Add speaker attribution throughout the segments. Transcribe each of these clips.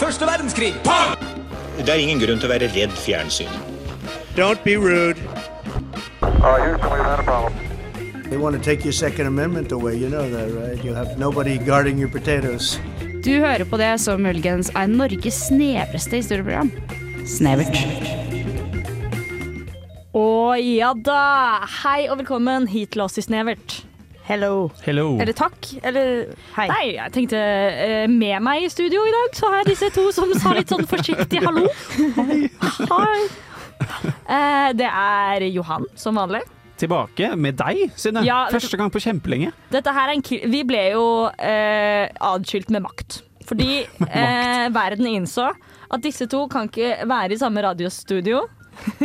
Speaker 1: Første verdenskrig.
Speaker 2: Det er ingen grunn til å være redd fjernsyn.
Speaker 3: Don't be rude.
Speaker 4: Uh, Houston, we've had a problem.
Speaker 5: They want to take your Second Amendment away. You know that, right? You'll have nobody guarding your potatoes.
Speaker 6: Du hører på det som muligens er Norges snevreste historieprogram. Snevert.
Speaker 7: Å ja da! Hei og velkommen hit til oss i Snevert.
Speaker 8: Hello.
Speaker 9: Hello.
Speaker 8: Eller takk, eller hei.
Speaker 7: Nei, jeg tenkte eh, med meg i studio i dag, så har jeg disse to som sa litt sånn forsiktig hallo. Hei. Eh, det er Johan, som vanlig.
Speaker 9: Tilbake med deg, Synne.
Speaker 7: Ja, vet du-
Speaker 9: Første gang på kjempelenge.
Speaker 7: Dette her er en kill... Vi ble jo eh, adskilt med makt. Fordi eh, verden innså at disse to kan ikke være i samme radiostudio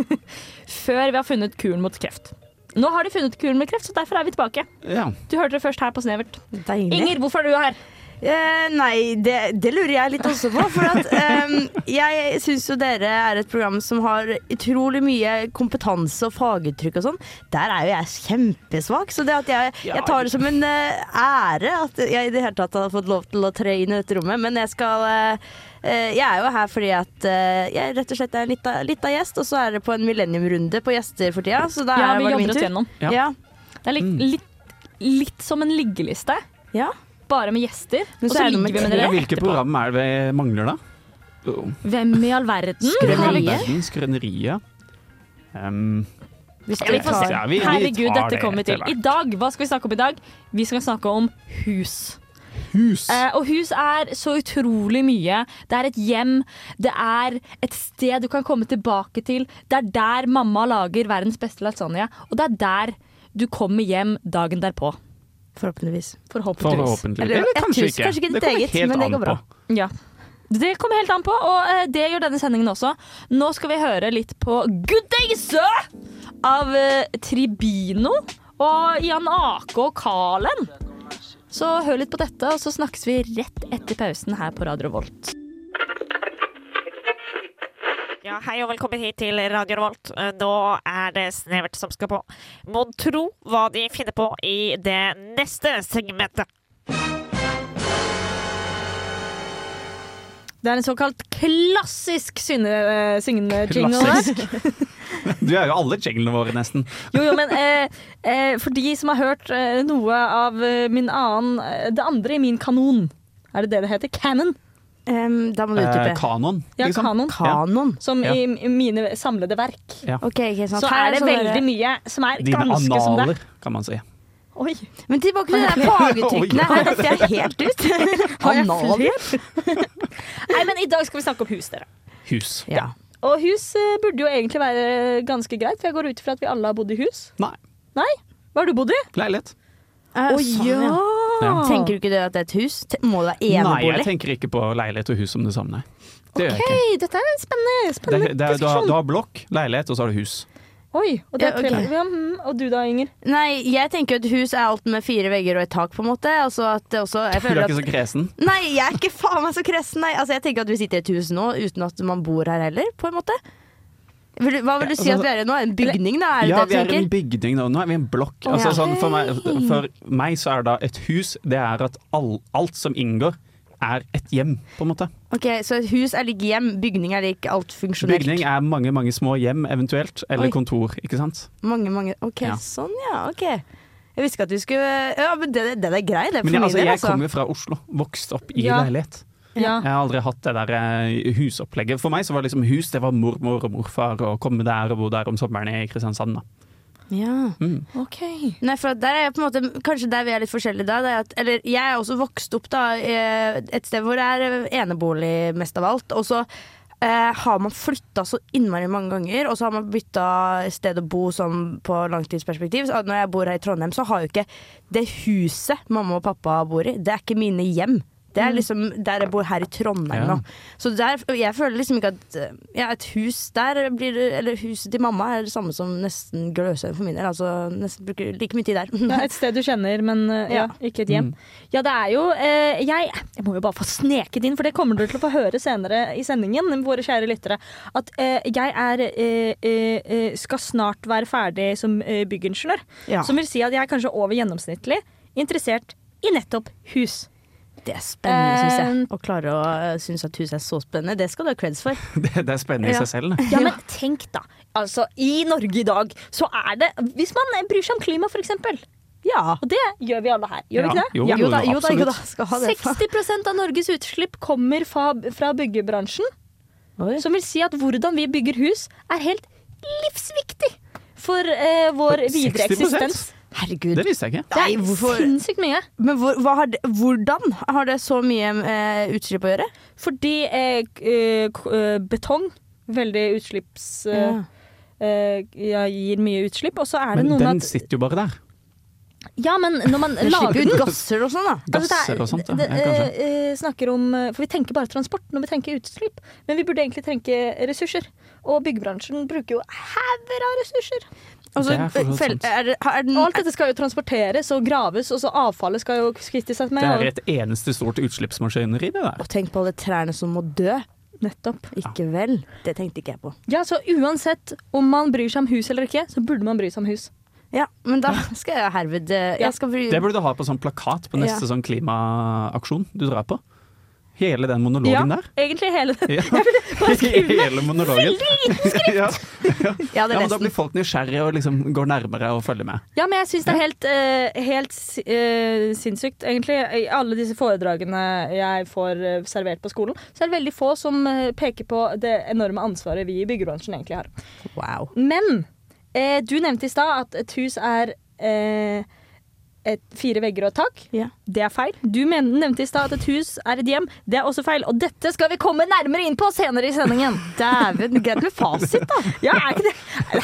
Speaker 7: før vi har funnet kuren mot kreft. Nå har de funnet kuren mot kreft, så derfor er vi tilbake.
Speaker 9: Ja.
Speaker 7: Du hørte det først her på Snevert.
Speaker 8: Deilig.
Speaker 7: Inger, hvorfor er du her?
Speaker 8: Eh, nei, det, det lurer jeg litt også på. For at, ehm, jeg syns jo dere er et program som har utrolig mye kompetanse og faguttrykk og sånn. Der er jo jeg kjempesvak, så det at jeg, jeg tar det som en eh, ære at jeg i det hele tatt har fått lov til å tre inn i dette rommet. Men jeg skal eh, eh, Jeg er jo her fordi at eh, jeg rett og slett er litt av, litt av gjest, og så er det på en millenniumrunde på gjester for tida. Så da
Speaker 7: Ja,
Speaker 8: er
Speaker 7: vi
Speaker 8: var det
Speaker 7: jobber
Speaker 8: min
Speaker 7: oss
Speaker 8: tur.
Speaker 7: gjennom.
Speaker 9: Ja.
Speaker 8: Ja.
Speaker 7: Det er litt, litt, litt som en liggeliste,
Speaker 8: ja.
Speaker 7: bare med gjester.
Speaker 8: Men
Speaker 7: Og
Speaker 8: så
Speaker 7: så
Speaker 8: er det
Speaker 7: ligger
Speaker 8: nummer
Speaker 7: vi med
Speaker 8: tre.
Speaker 7: dere.
Speaker 9: Ja, Hvilke
Speaker 7: etterpå.
Speaker 9: program er det vi mangler, da? Oh,
Speaker 7: Hvem i all verden? Har vi-
Speaker 9: Skrøneriet. Skrøneriet. Um,
Speaker 8: Hvis
Speaker 7: Ja, vi får se.
Speaker 9: Ja, vi- vi tar
Speaker 7: Herregud, dette
Speaker 9: det
Speaker 7: kommer vi til.
Speaker 9: etter
Speaker 7: I
Speaker 9: hvert.
Speaker 7: dag, Hva skal vi snakke om i dag? Vi skal snakke om hus.
Speaker 9: hus.
Speaker 7: Eh, og hus er så utrolig mye. Det er et hjem. Det er et sted du kan komme tilbake til. Det er der mamma lager verdens beste lasagne. Og det er der du kommer hjem dagen derpå.
Speaker 8: Forhåpentligvis.
Speaker 7: Forhåpentligvis.
Speaker 9: Forhåpentligvis.
Speaker 8: Eller et hus, kanskje ikke ditt
Speaker 9: kommer
Speaker 8: eget,
Speaker 9: helt
Speaker 8: men det
Speaker 9: an
Speaker 8: går bra.
Speaker 9: på.
Speaker 7: Ja. Det kommer helt an på, og eh, det gjør denne sendingen også. Nå skal vi høre litt på Good Day Sø av eh, Tribino og Jan Ake og Kalen. Så hør litt på dette, og så snakkes vi rett etter pausen her på Radio Volt.
Speaker 10: Ja, hei og velkommen hit til Radio Revolt. Eh, Nå er det Snevert som skal på. Mon tro hva de finner på i det neste segmentet.
Speaker 7: Det er en såkalt klassisk synge- eh, syngende jingle der.
Speaker 9: Du er jo alle jinglene våre, nesten.
Speaker 7: Jo, jo, men eh, eh, for de som har hørt eh, noe av eh, min annen eh, Det andre i min kanon. Er det det det heter? Cannon.
Speaker 8: Ehm, da må du
Speaker 9: Eh,
Speaker 8: utdype.
Speaker 9: kanon,
Speaker 7: Ja,
Speaker 9: liksom.
Speaker 7: kanon.
Speaker 8: Kanon.
Speaker 7: Som
Speaker 9: Ja.
Speaker 7: i, i mine samlede verk.
Speaker 8: Ok, ok, sant.
Speaker 7: Så
Speaker 8: Her
Speaker 7: er det
Speaker 8: sånn
Speaker 7: veldig
Speaker 8: der-
Speaker 7: mye som er
Speaker 9: Dine
Speaker 7: ganske som det.
Speaker 9: analer, kan man si.
Speaker 7: Oi.
Speaker 8: Men tilbake til det der fagutrykkene. Her detter jeg helt ut. Har jeg
Speaker 7: Anal.
Speaker 8: flere?
Speaker 7: Nei, men I dag skal vi snakke om hus, dere.
Speaker 9: Hus.
Speaker 8: Ja.
Speaker 7: Og hus eh, burde jo egentlig være ganske greit, for jeg går ut ifra at vi alle har bodd i hus.
Speaker 9: Nei.
Speaker 7: Nei? Hva har du bodd i?
Speaker 9: Leilighet.
Speaker 8: Eh, sånn, ja.
Speaker 9: Ja.
Speaker 8: Tenker du ikke det at det er et hus? Te- Må det være
Speaker 9: Nei, jeg
Speaker 8: enebolig?
Speaker 9: tenker ikke på leilighet og hus som det samme, nei. Det gjør jeg ikke.
Speaker 7: Hei, dette er en spennende,
Speaker 9: Det,
Speaker 7: spennende
Speaker 9: det, er- du, har,
Speaker 7: diskusjon.
Speaker 9: du har blokk, leilighet, og så har du hus.
Speaker 7: Oi, og, det er
Speaker 8: Ja,
Speaker 7: tre-
Speaker 8: ok.
Speaker 7: ja, mm, og du da, Inger?
Speaker 8: Nei, jeg tenker at hus er alt med fire vegger og et tak, på en måte. Altså at det også, jeg
Speaker 9: Du er
Speaker 8: føler
Speaker 9: ikke så
Speaker 8: at
Speaker 9: kresen.
Speaker 8: Nei, jeg er ikke faen meg så kresen, nei. Altså, jeg tenker at vi sitter i et hus nå uten at man bor her heller, på en måte. Vil du- Hva vil du si at vi er i nå? En bygning, da? Er
Speaker 9: altså,
Speaker 8: det
Speaker 9: Ja,
Speaker 8: det
Speaker 9: vi er
Speaker 8: du
Speaker 9: i en
Speaker 8: tenker?
Speaker 9: bygning nå. Nå er vi i en blokk. Altså,
Speaker 8: Ja.
Speaker 9: sånn, for, meg, for meg så er da et hus Det er at all, alt som inngår, er et hjem, på en måte.
Speaker 8: Ok, Så et hus er lik hjem, bygning er lik alt funksjonelt.
Speaker 9: Bygning er mange, mange små hjem, eventuelt. Eller
Speaker 8: Oi.
Speaker 9: kontor, ikke sant.
Speaker 8: Mange, mange Ok,
Speaker 9: Ja.
Speaker 8: sånn ja, ok Jeg visste ikke at du skulle Ja, men den er, den er grei, det er for
Speaker 9: Men jeg,
Speaker 8: min
Speaker 9: altså,
Speaker 8: del
Speaker 9: jeg
Speaker 8: altså.
Speaker 9: kommer fra Oslo. Vokste opp i
Speaker 7: Ja.
Speaker 9: leilighet.
Speaker 7: Ja.
Speaker 9: Jeg har aldri hatt det der eh, husopplegget. For meg så var det liksom hus det var mormor og morfar og komme der og bo der om sommeren i Kristiansand. Da.
Speaker 8: ja.
Speaker 7: Ok.
Speaker 8: Nei, for at der er jeg på en måte Kanskje der vi er litt forskjellige da det er at, Eller jeg er også vokst opp da eh, Et sted hvor det er eh, enebolig mest av alt Og så eh, har man flyttet så innmari mange ganger Og så har man byttet sted å bo sånn på langtidsperspektiv så Når jeg bor her i Trondheim så har jo ikke Det huset mamma og pappa bor i Det er ikke mine hjem det er liksom der jeg bor her i Trondheim
Speaker 9: Ja.
Speaker 8: nå. Så der, jeg føler liksom ikke at eh, ja, et hus der blir det- Eller huset til mamma er det samme som nesten Gløshaug for min del. Altså nesten bruker like mye tid der.
Speaker 7: Ja, et sted du kjenner, men eh, ja, ikke et hjem. Ja, det er jo eh, jeg, jeg må jo bare få sneket inn, for det kommer du til å få høre senere i sendingen, våre kjære lyttere, at eh, jeg er eh, eh, eh, skal snart være ferdig som eh, byggingeniør.
Speaker 8: Ja.
Speaker 7: Som vil si at jeg er kanskje over gjennomsnittlig interessert i nettopp hus.
Speaker 8: Det er spennende, syns jeg.
Speaker 7: Eh,
Speaker 8: Å klare å eh, synes at huset er så spennende, det skal du ha creds for.
Speaker 9: Det, det er spennende i
Speaker 8: Ja.
Speaker 9: seg selv. det.
Speaker 7: Ja, men tenk da. Altså, I Norge i dag så er det Hvis man bryr seg om klima, f.eks.
Speaker 8: Ja.
Speaker 7: Og det gjør vi alle her. Gjør vi
Speaker 9: Ja,
Speaker 7: ikke det?
Speaker 9: jo,
Speaker 8: Jo da, jo da, jo da.
Speaker 9: absolutt.
Speaker 8: Skal ha det.
Speaker 7: 60 av Norges utslipp kommer fra, fra byggebransjen.
Speaker 8: Oi.
Speaker 7: Som vil si at hvordan vi bygger hus, er helt livsviktig for eh, vår videre
Speaker 9: 60%?
Speaker 7: eksistens.
Speaker 8: Herregud.
Speaker 9: Det visste jeg ikke.
Speaker 7: Det
Speaker 8: Nei,
Speaker 7: er
Speaker 8: hvorfor-
Speaker 7: sinnssykt mye.
Speaker 8: Men hvor, hva har det, hvordan har det så mye eh, utslipp å gjøre?
Speaker 7: Fordi eh, k- eh, k- eh, betong veldig utslipps... Eh, eh, ja, gir mye utslipp, og så er det
Speaker 9: Men
Speaker 7: noe
Speaker 9: den
Speaker 7: med at
Speaker 9: sitter jo bare der.
Speaker 7: Ja, men når man
Speaker 8: Den
Speaker 7: lager
Speaker 8: slipper ut gasser og sånn, da.
Speaker 7: Altså, det er-
Speaker 9: Gasser og sånt. Ja.
Speaker 7: det-
Speaker 9: Ja, kanskje.
Speaker 7: eh, eh, snakker om, eh, for Vi tenker bare transport når vi tenker utslipp, men vi burde egentlig tenke ressurser. Og byggebransjen bruker jo hauger av ressurser.
Speaker 8: Altså,
Speaker 9: Det er for så vidt
Speaker 8: fel-
Speaker 9: sant.
Speaker 8: er det, er den,
Speaker 7: Og alt dette skal jo transporteres og graves, og så avfallet skal jo kvitte seg med.
Speaker 9: Det er
Speaker 7: og-
Speaker 9: et eneste stort utslippsmaskineri, det der.
Speaker 8: og tenk på alle trærne som må dø.
Speaker 7: Nettopp.
Speaker 8: Ikke vel? Det tenkte ikke jeg på.
Speaker 7: Ja, Så uansett om man bryr seg om hus eller ikke, så burde man bry seg om hus.
Speaker 8: Ja, men da skal jeg herved eh,
Speaker 7: Ja.
Speaker 8: jeg skal bry,
Speaker 9: Det burde du ha på sånn plakat på neste
Speaker 8: Ja.
Speaker 9: sånn klimaaksjon du drar på. Hele den
Speaker 7: Ja,
Speaker 9: monologen der.
Speaker 7: egentlig hele den.
Speaker 9: Ja. Hele monologen. ja.
Speaker 8: Jeg hadde
Speaker 9: ja, men
Speaker 8: lest
Speaker 9: da blir
Speaker 8: den.
Speaker 9: folk nysgjerrige og liksom går nærmere og følger med.
Speaker 7: Ja, men jeg syns det er helt, eh, helt si- eh, sinnssykt, egentlig. I alle disse foredragene jeg får eh, servert på skolen, så er det veldig få som eh, peker på det enorme ansvaret vi i byggebransjen egentlig har.
Speaker 8: Wow.
Speaker 7: Men eh, du nevnte i stad at et hus er eh, et, fire vegger og et tak.
Speaker 8: Ja.
Speaker 7: Det er feil. Du men, nevnte i stad at et hus er et hjem. Det er også feil. Og dette skal vi komme nærmere inn på senere i sendingen.
Speaker 8: Dæven, greit med fasit, da.
Speaker 7: Ja, er ikke det?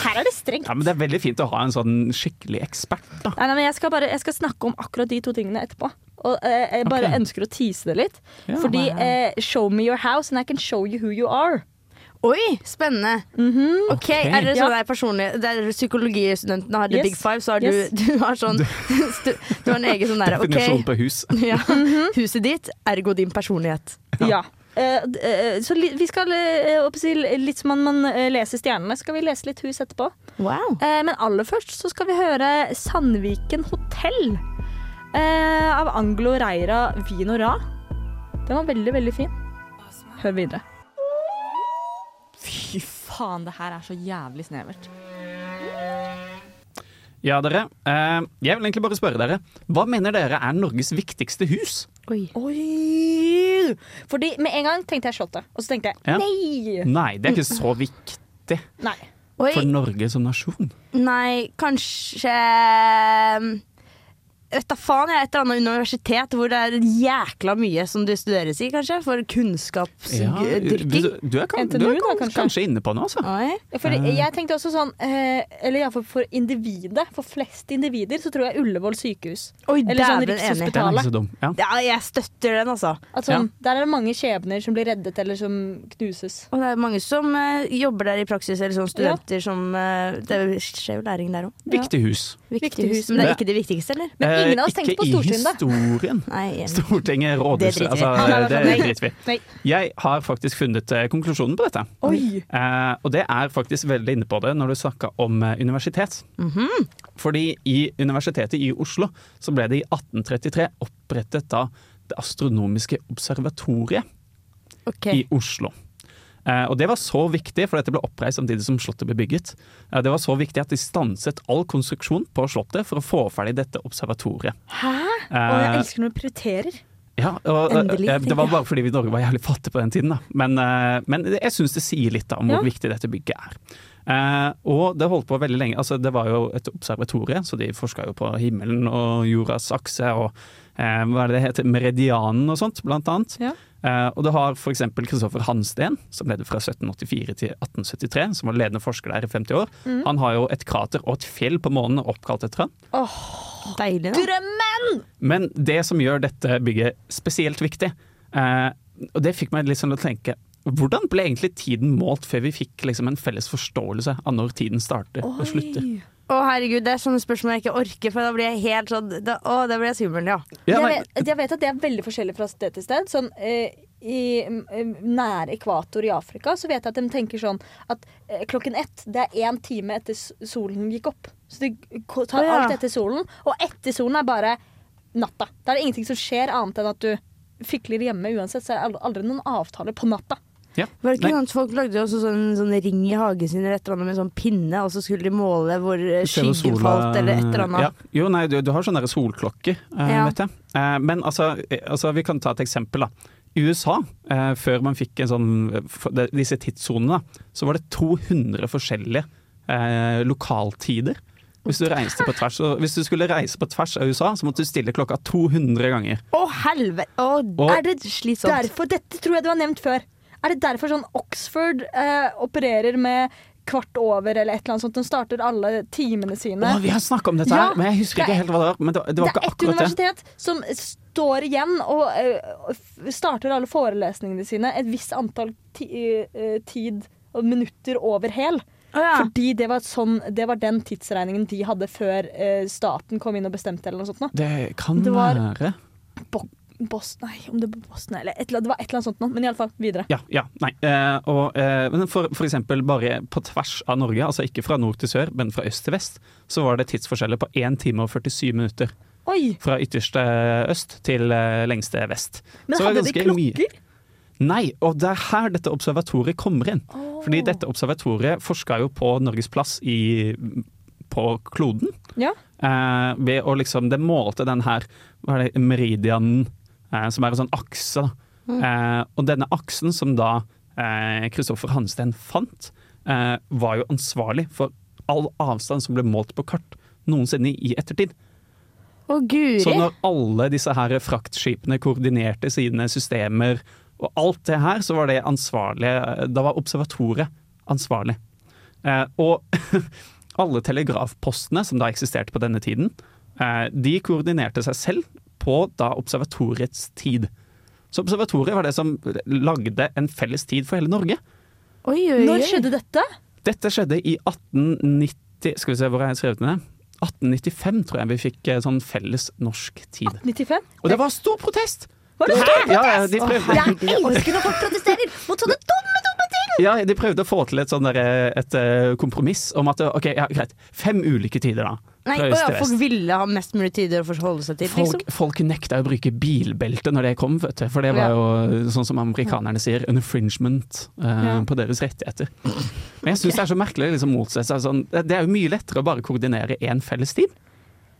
Speaker 7: Her er det strengt.
Speaker 9: Ja, men det er veldig fint å ha en sånn skikkelig ekspert, da.
Speaker 7: Nei, nei, men jeg skal, bare, jeg skal snakke om akkurat de to tingene etterpå. Og eh, Jeg bare
Speaker 9: Ok.
Speaker 7: ønsker å tease det litt.
Speaker 9: Ja.
Speaker 7: fordi eh, show me your house and I can show you who you are.
Speaker 8: Oi, spennende. Ok, Er det
Speaker 7: Ja.
Speaker 8: sånn der personlig Der psykologistudentene har the
Speaker 7: Yes.
Speaker 8: big five, så har
Speaker 7: Yes.
Speaker 8: du, du har sånn stu, Du har en egen sånn derre
Speaker 9: Definisjon
Speaker 8: OK,
Speaker 9: på hus.
Speaker 8: ja, huset ditt, ergo din personlighet.
Speaker 7: Ja. Eh, d- eh, så li, vi skal eh, opp til litt som man, man eh, leser stjernene, skal vi lese litt hus etterpå.
Speaker 8: Wow.
Speaker 7: Eh, men aller først så skal vi høre Sandviken hotell eh, av Anglo Reira Vin og Ra. Den var veldig, veldig fin. Hør videre.
Speaker 1: Fy faen, det her er så jævlig snevert.
Speaker 9: Ja, dere. Eh, jeg vil egentlig bare spørre dere. Hva mener dere er Norges viktigste hus?
Speaker 7: Oi! Fordi med en gang tenkte jeg Slottet, og så tenkte jeg
Speaker 9: Ja.
Speaker 7: nei!
Speaker 9: Nei, det er ikke så viktig
Speaker 7: Nei.
Speaker 9: for
Speaker 8: Oi,
Speaker 9: Norge som nasjon.
Speaker 8: nei, kanskje Vet da faen, jeg er et eller annet universitet hvor det er jækla mye som det studeres i, kanskje? For kunnskapsdyrking.
Speaker 9: du, du er, kan,
Speaker 7: NTNU
Speaker 9: du er
Speaker 7: da,
Speaker 9: kan,
Speaker 7: kanskje?
Speaker 9: kanskje inne på noe, altså.
Speaker 8: Oi.
Speaker 7: Fordi jeg tenkte også sånn eh, Eller iallfall for individet. For flest individer så tror jeg Ullevål sykehus.
Speaker 8: Oi,
Speaker 7: Eller sånn
Speaker 9: Den
Speaker 8: dæven enig.
Speaker 9: er
Speaker 7: Rikshospitalet.
Speaker 9: ikke så dum. Ja.
Speaker 8: Ja, jeg støtter den, altså.
Speaker 7: At sånn, Der er det mange skjebner som blir reddet eller som knuses.
Speaker 8: Og det er mange som eh, jobber der i praksis, eller sånn studenter som eh, Det skjer jo læring der òg.
Speaker 9: Viktig hus.
Speaker 8: Viktig
Speaker 7: Viktig
Speaker 8: hus.
Speaker 7: hus.
Speaker 8: Men det er
Speaker 9: Det-
Speaker 8: ikke det viktigste, eller?
Speaker 7: Men
Speaker 9: Eh,
Speaker 7: ingen av oss tenkte på Stortinget, da.
Speaker 9: Ikke i historien.
Speaker 8: Nei, enig.
Speaker 9: Stortinget, rådhuset,
Speaker 8: Det driter vi i.
Speaker 9: altså,
Speaker 7: Ja, nei,
Speaker 9: det
Speaker 7: nei, nei.
Speaker 9: driter vi i.
Speaker 7: Nei.
Speaker 9: Jeg har faktisk funnet eh, konklusjonen på dette.
Speaker 7: Oi!
Speaker 9: Eh, og det er faktisk veldig inne på det når du snakka om eh, universitet. Fordi i Universitetet i Oslo så ble det i 1833 opprettet da Det astronomiske observatoriet
Speaker 8: Ok.
Speaker 9: i Oslo. Eh, og det var så viktig, for dette ble oppreist samtidig som Slottet ble bygget. Eh, det var så viktig at de stanset all konstruksjon på Slottet for å få ferdig dette observatoriet.
Speaker 7: Hæ? Og jeg
Speaker 9: Eh,
Speaker 7: elsker når du prioriterer.
Speaker 9: ja, og,
Speaker 8: Endelig,
Speaker 9: eh,
Speaker 8: tenker
Speaker 9: det var bare fordi vi i Norge var jævlig fattige på den tiden. Da. Men, eh, men jeg syns det sier litt da, om hvor
Speaker 7: Ja.
Speaker 9: viktig dette bygget er. Eh, og det holdt på veldig lenge. Altså, det var jo et observatorie, så de forska jo på himmelen og jordas akse og eh, hva er det det heter, meridianen og sånt, blant annet.
Speaker 7: Ja.
Speaker 9: Eh, og det har f.eks. Kristoffer Hansten, som levde fra 1784 til 1873, som var ledende forsker der i 50 år. Han har jo et krater og et fjell på månen oppkalt etter han.
Speaker 8: Deilig, da.
Speaker 7: Drømmen!
Speaker 9: Men det som gjør dette bygget spesielt viktig, eh, og det fikk meg litt sånn til å tenke Hvordan ble egentlig tiden målt før vi fikk liksom en felles forståelse av når tiden starter og slutter?
Speaker 8: Å, herregud, det er sånne spørsmål jeg ikke orker, for da blir jeg helt sånn da, Å, da blir jeg svimmel, ja.
Speaker 9: Ja,
Speaker 7: jeg,
Speaker 9: nei,
Speaker 7: vet, jeg vet at det er veldig forskjellig fra sted til sted. Sånn, eh, i, eh, nær ekvator i Afrika så vet jeg at de tenker sånn at eh, klokken ett det er én time etter s- solen gikk opp. Så de ko- tar
Speaker 8: Å, ja.
Speaker 7: alt etter solen, og etter solen er bare natta. Da er det ingenting som skjer annet enn at du fikler hjemme uansett, så er det aldri- aldri noen avtaler på natta.
Speaker 9: Ja.
Speaker 8: Var det ikke
Speaker 9: Nei,
Speaker 8: sånn at Folk lagde jo også sånn, sånn ring i hagen sin eller et eller annet med sånn pinne, og så skulle de måle hvor eh,
Speaker 9: se hvor
Speaker 8: skyggen
Speaker 9: sola-
Speaker 8: falt eller et eller annet.
Speaker 9: Ja. Jo, nei, du, du har sånne der solklokker, eh,
Speaker 8: Ja.
Speaker 9: vet jeg. Eh, men altså, eh, altså, vi kan ta et eksempel, da. I USA, eh, før man fikk en sånn, for de- disse tidssonene, da, så var det 200 forskjellige eh, lokaltider. Hvis du, reiste på tvers, så hvis du skulle reise på tvers av USA, så måtte du stille klokka 200 ganger.
Speaker 8: Å, helvete! Å,
Speaker 9: Og-
Speaker 8: er det slitsomt?
Speaker 7: Derfor, dette tror jeg du har nevnt før. Er det derfor sånn Oxford eh, opererer med kvart over eller et eller annet sånt? De starter alle timene sine.
Speaker 9: Å, vi har snakka om dette
Speaker 7: Ja,
Speaker 9: her, men jeg
Speaker 7: det
Speaker 9: husker
Speaker 7: er-
Speaker 9: ikke helt hva det var. Men det, var- det var
Speaker 7: det
Speaker 9: ikke
Speaker 7: er ett
Speaker 9: akkurat det.
Speaker 7: universitet som står igjen og eh, f- starter alle forelesningene sine et visst antall ti, eh, tid og minutter over hel.
Speaker 8: Å, ja.
Speaker 7: Fordi det var, sånn, det var den tidsregningen de hadde før eh, staten kom inn og bestemte. eller noe sånt. nå.
Speaker 9: Det kan
Speaker 7: Det var-
Speaker 9: være
Speaker 7: Bos nei, om det var Bosnia eller et eller annet, Det var et eller annet sånt nå, men iallfall videre.
Speaker 9: Ja, ja, nei. Eh, og, eh, men for, for eksempel bare på tvers av Norge, altså ikke fra nord til sør, men fra øst til vest, så var det tidsforskjeller på 1 time og 47 minutter.
Speaker 7: Oi!
Speaker 9: Fra ytterste øst til eh, lengste vest.
Speaker 7: Men
Speaker 9: Så det var
Speaker 7: hadde de
Speaker 9: ganske mye.
Speaker 7: klokker?
Speaker 9: Nei, og det er her dette observatoriet kommer inn. Fordi dette observatoriet forska jo på Norges plass i, på kloden.
Speaker 7: Ja.
Speaker 9: Eh, ved å liksom, det målte den her hva er det, meridianen, eh, som er en sånn akse. Da. Eh, og denne aksen som da Kristoffer Hansten fant, eh, var jo ansvarlig for all avstand som ble målt på kart noensinne i ettertid.
Speaker 8: Å, guri!
Speaker 9: Så når alle disse her fraktskipene koordinerte sine systemer og alt det her, så var det ansvarlige Da var observatoriet ansvarlig. Eh, og alle telegrafpostene som da eksisterte på denne tiden, eh, de koordinerte seg selv på da observatoriets tid. Så observatoriet var det som lagde en felles tid for hele Norge.
Speaker 8: Oi, oi, oi.
Speaker 7: Når skjedde dette?
Speaker 9: Dette skjedde i 1890 Skal vi se hvor har jeg skrevet ned? 1895 tror jeg vi fikk eh, sånn felles norsk tid.
Speaker 7: 95?
Speaker 9: Og det var stor protest!
Speaker 7: Var det
Speaker 9: stor protest? Ja, ja, de prøvde,
Speaker 7: Jeg elsker når folk protesterer mot sånne dumme, dumme ting!
Speaker 9: ja, de prøvde å få til et, sånn der, et eh, kompromiss om at ok, ja, greit, fem ulike tider, da.
Speaker 8: Nei,
Speaker 9: Fra
Speaker 8: å,
Speaker 9: øst
Speaker 8: ja,
Speaker 9: til
Speaker 8: folk
Speaker 9: vest.
Speaker 8: ville ha mest mulig tider å forholde seg til, liksom.
Speaker 9: Folk, folk nekta å bruke bilbelte når det kom, vet du. For det var jo, sånn som amerikanerne sier, an infringement eh, på deres rettigheter. Men jeg syns det er så merkelig å liksom motsette seg sånn. Det det er jo mye lettere å bare koordinere én felles tid.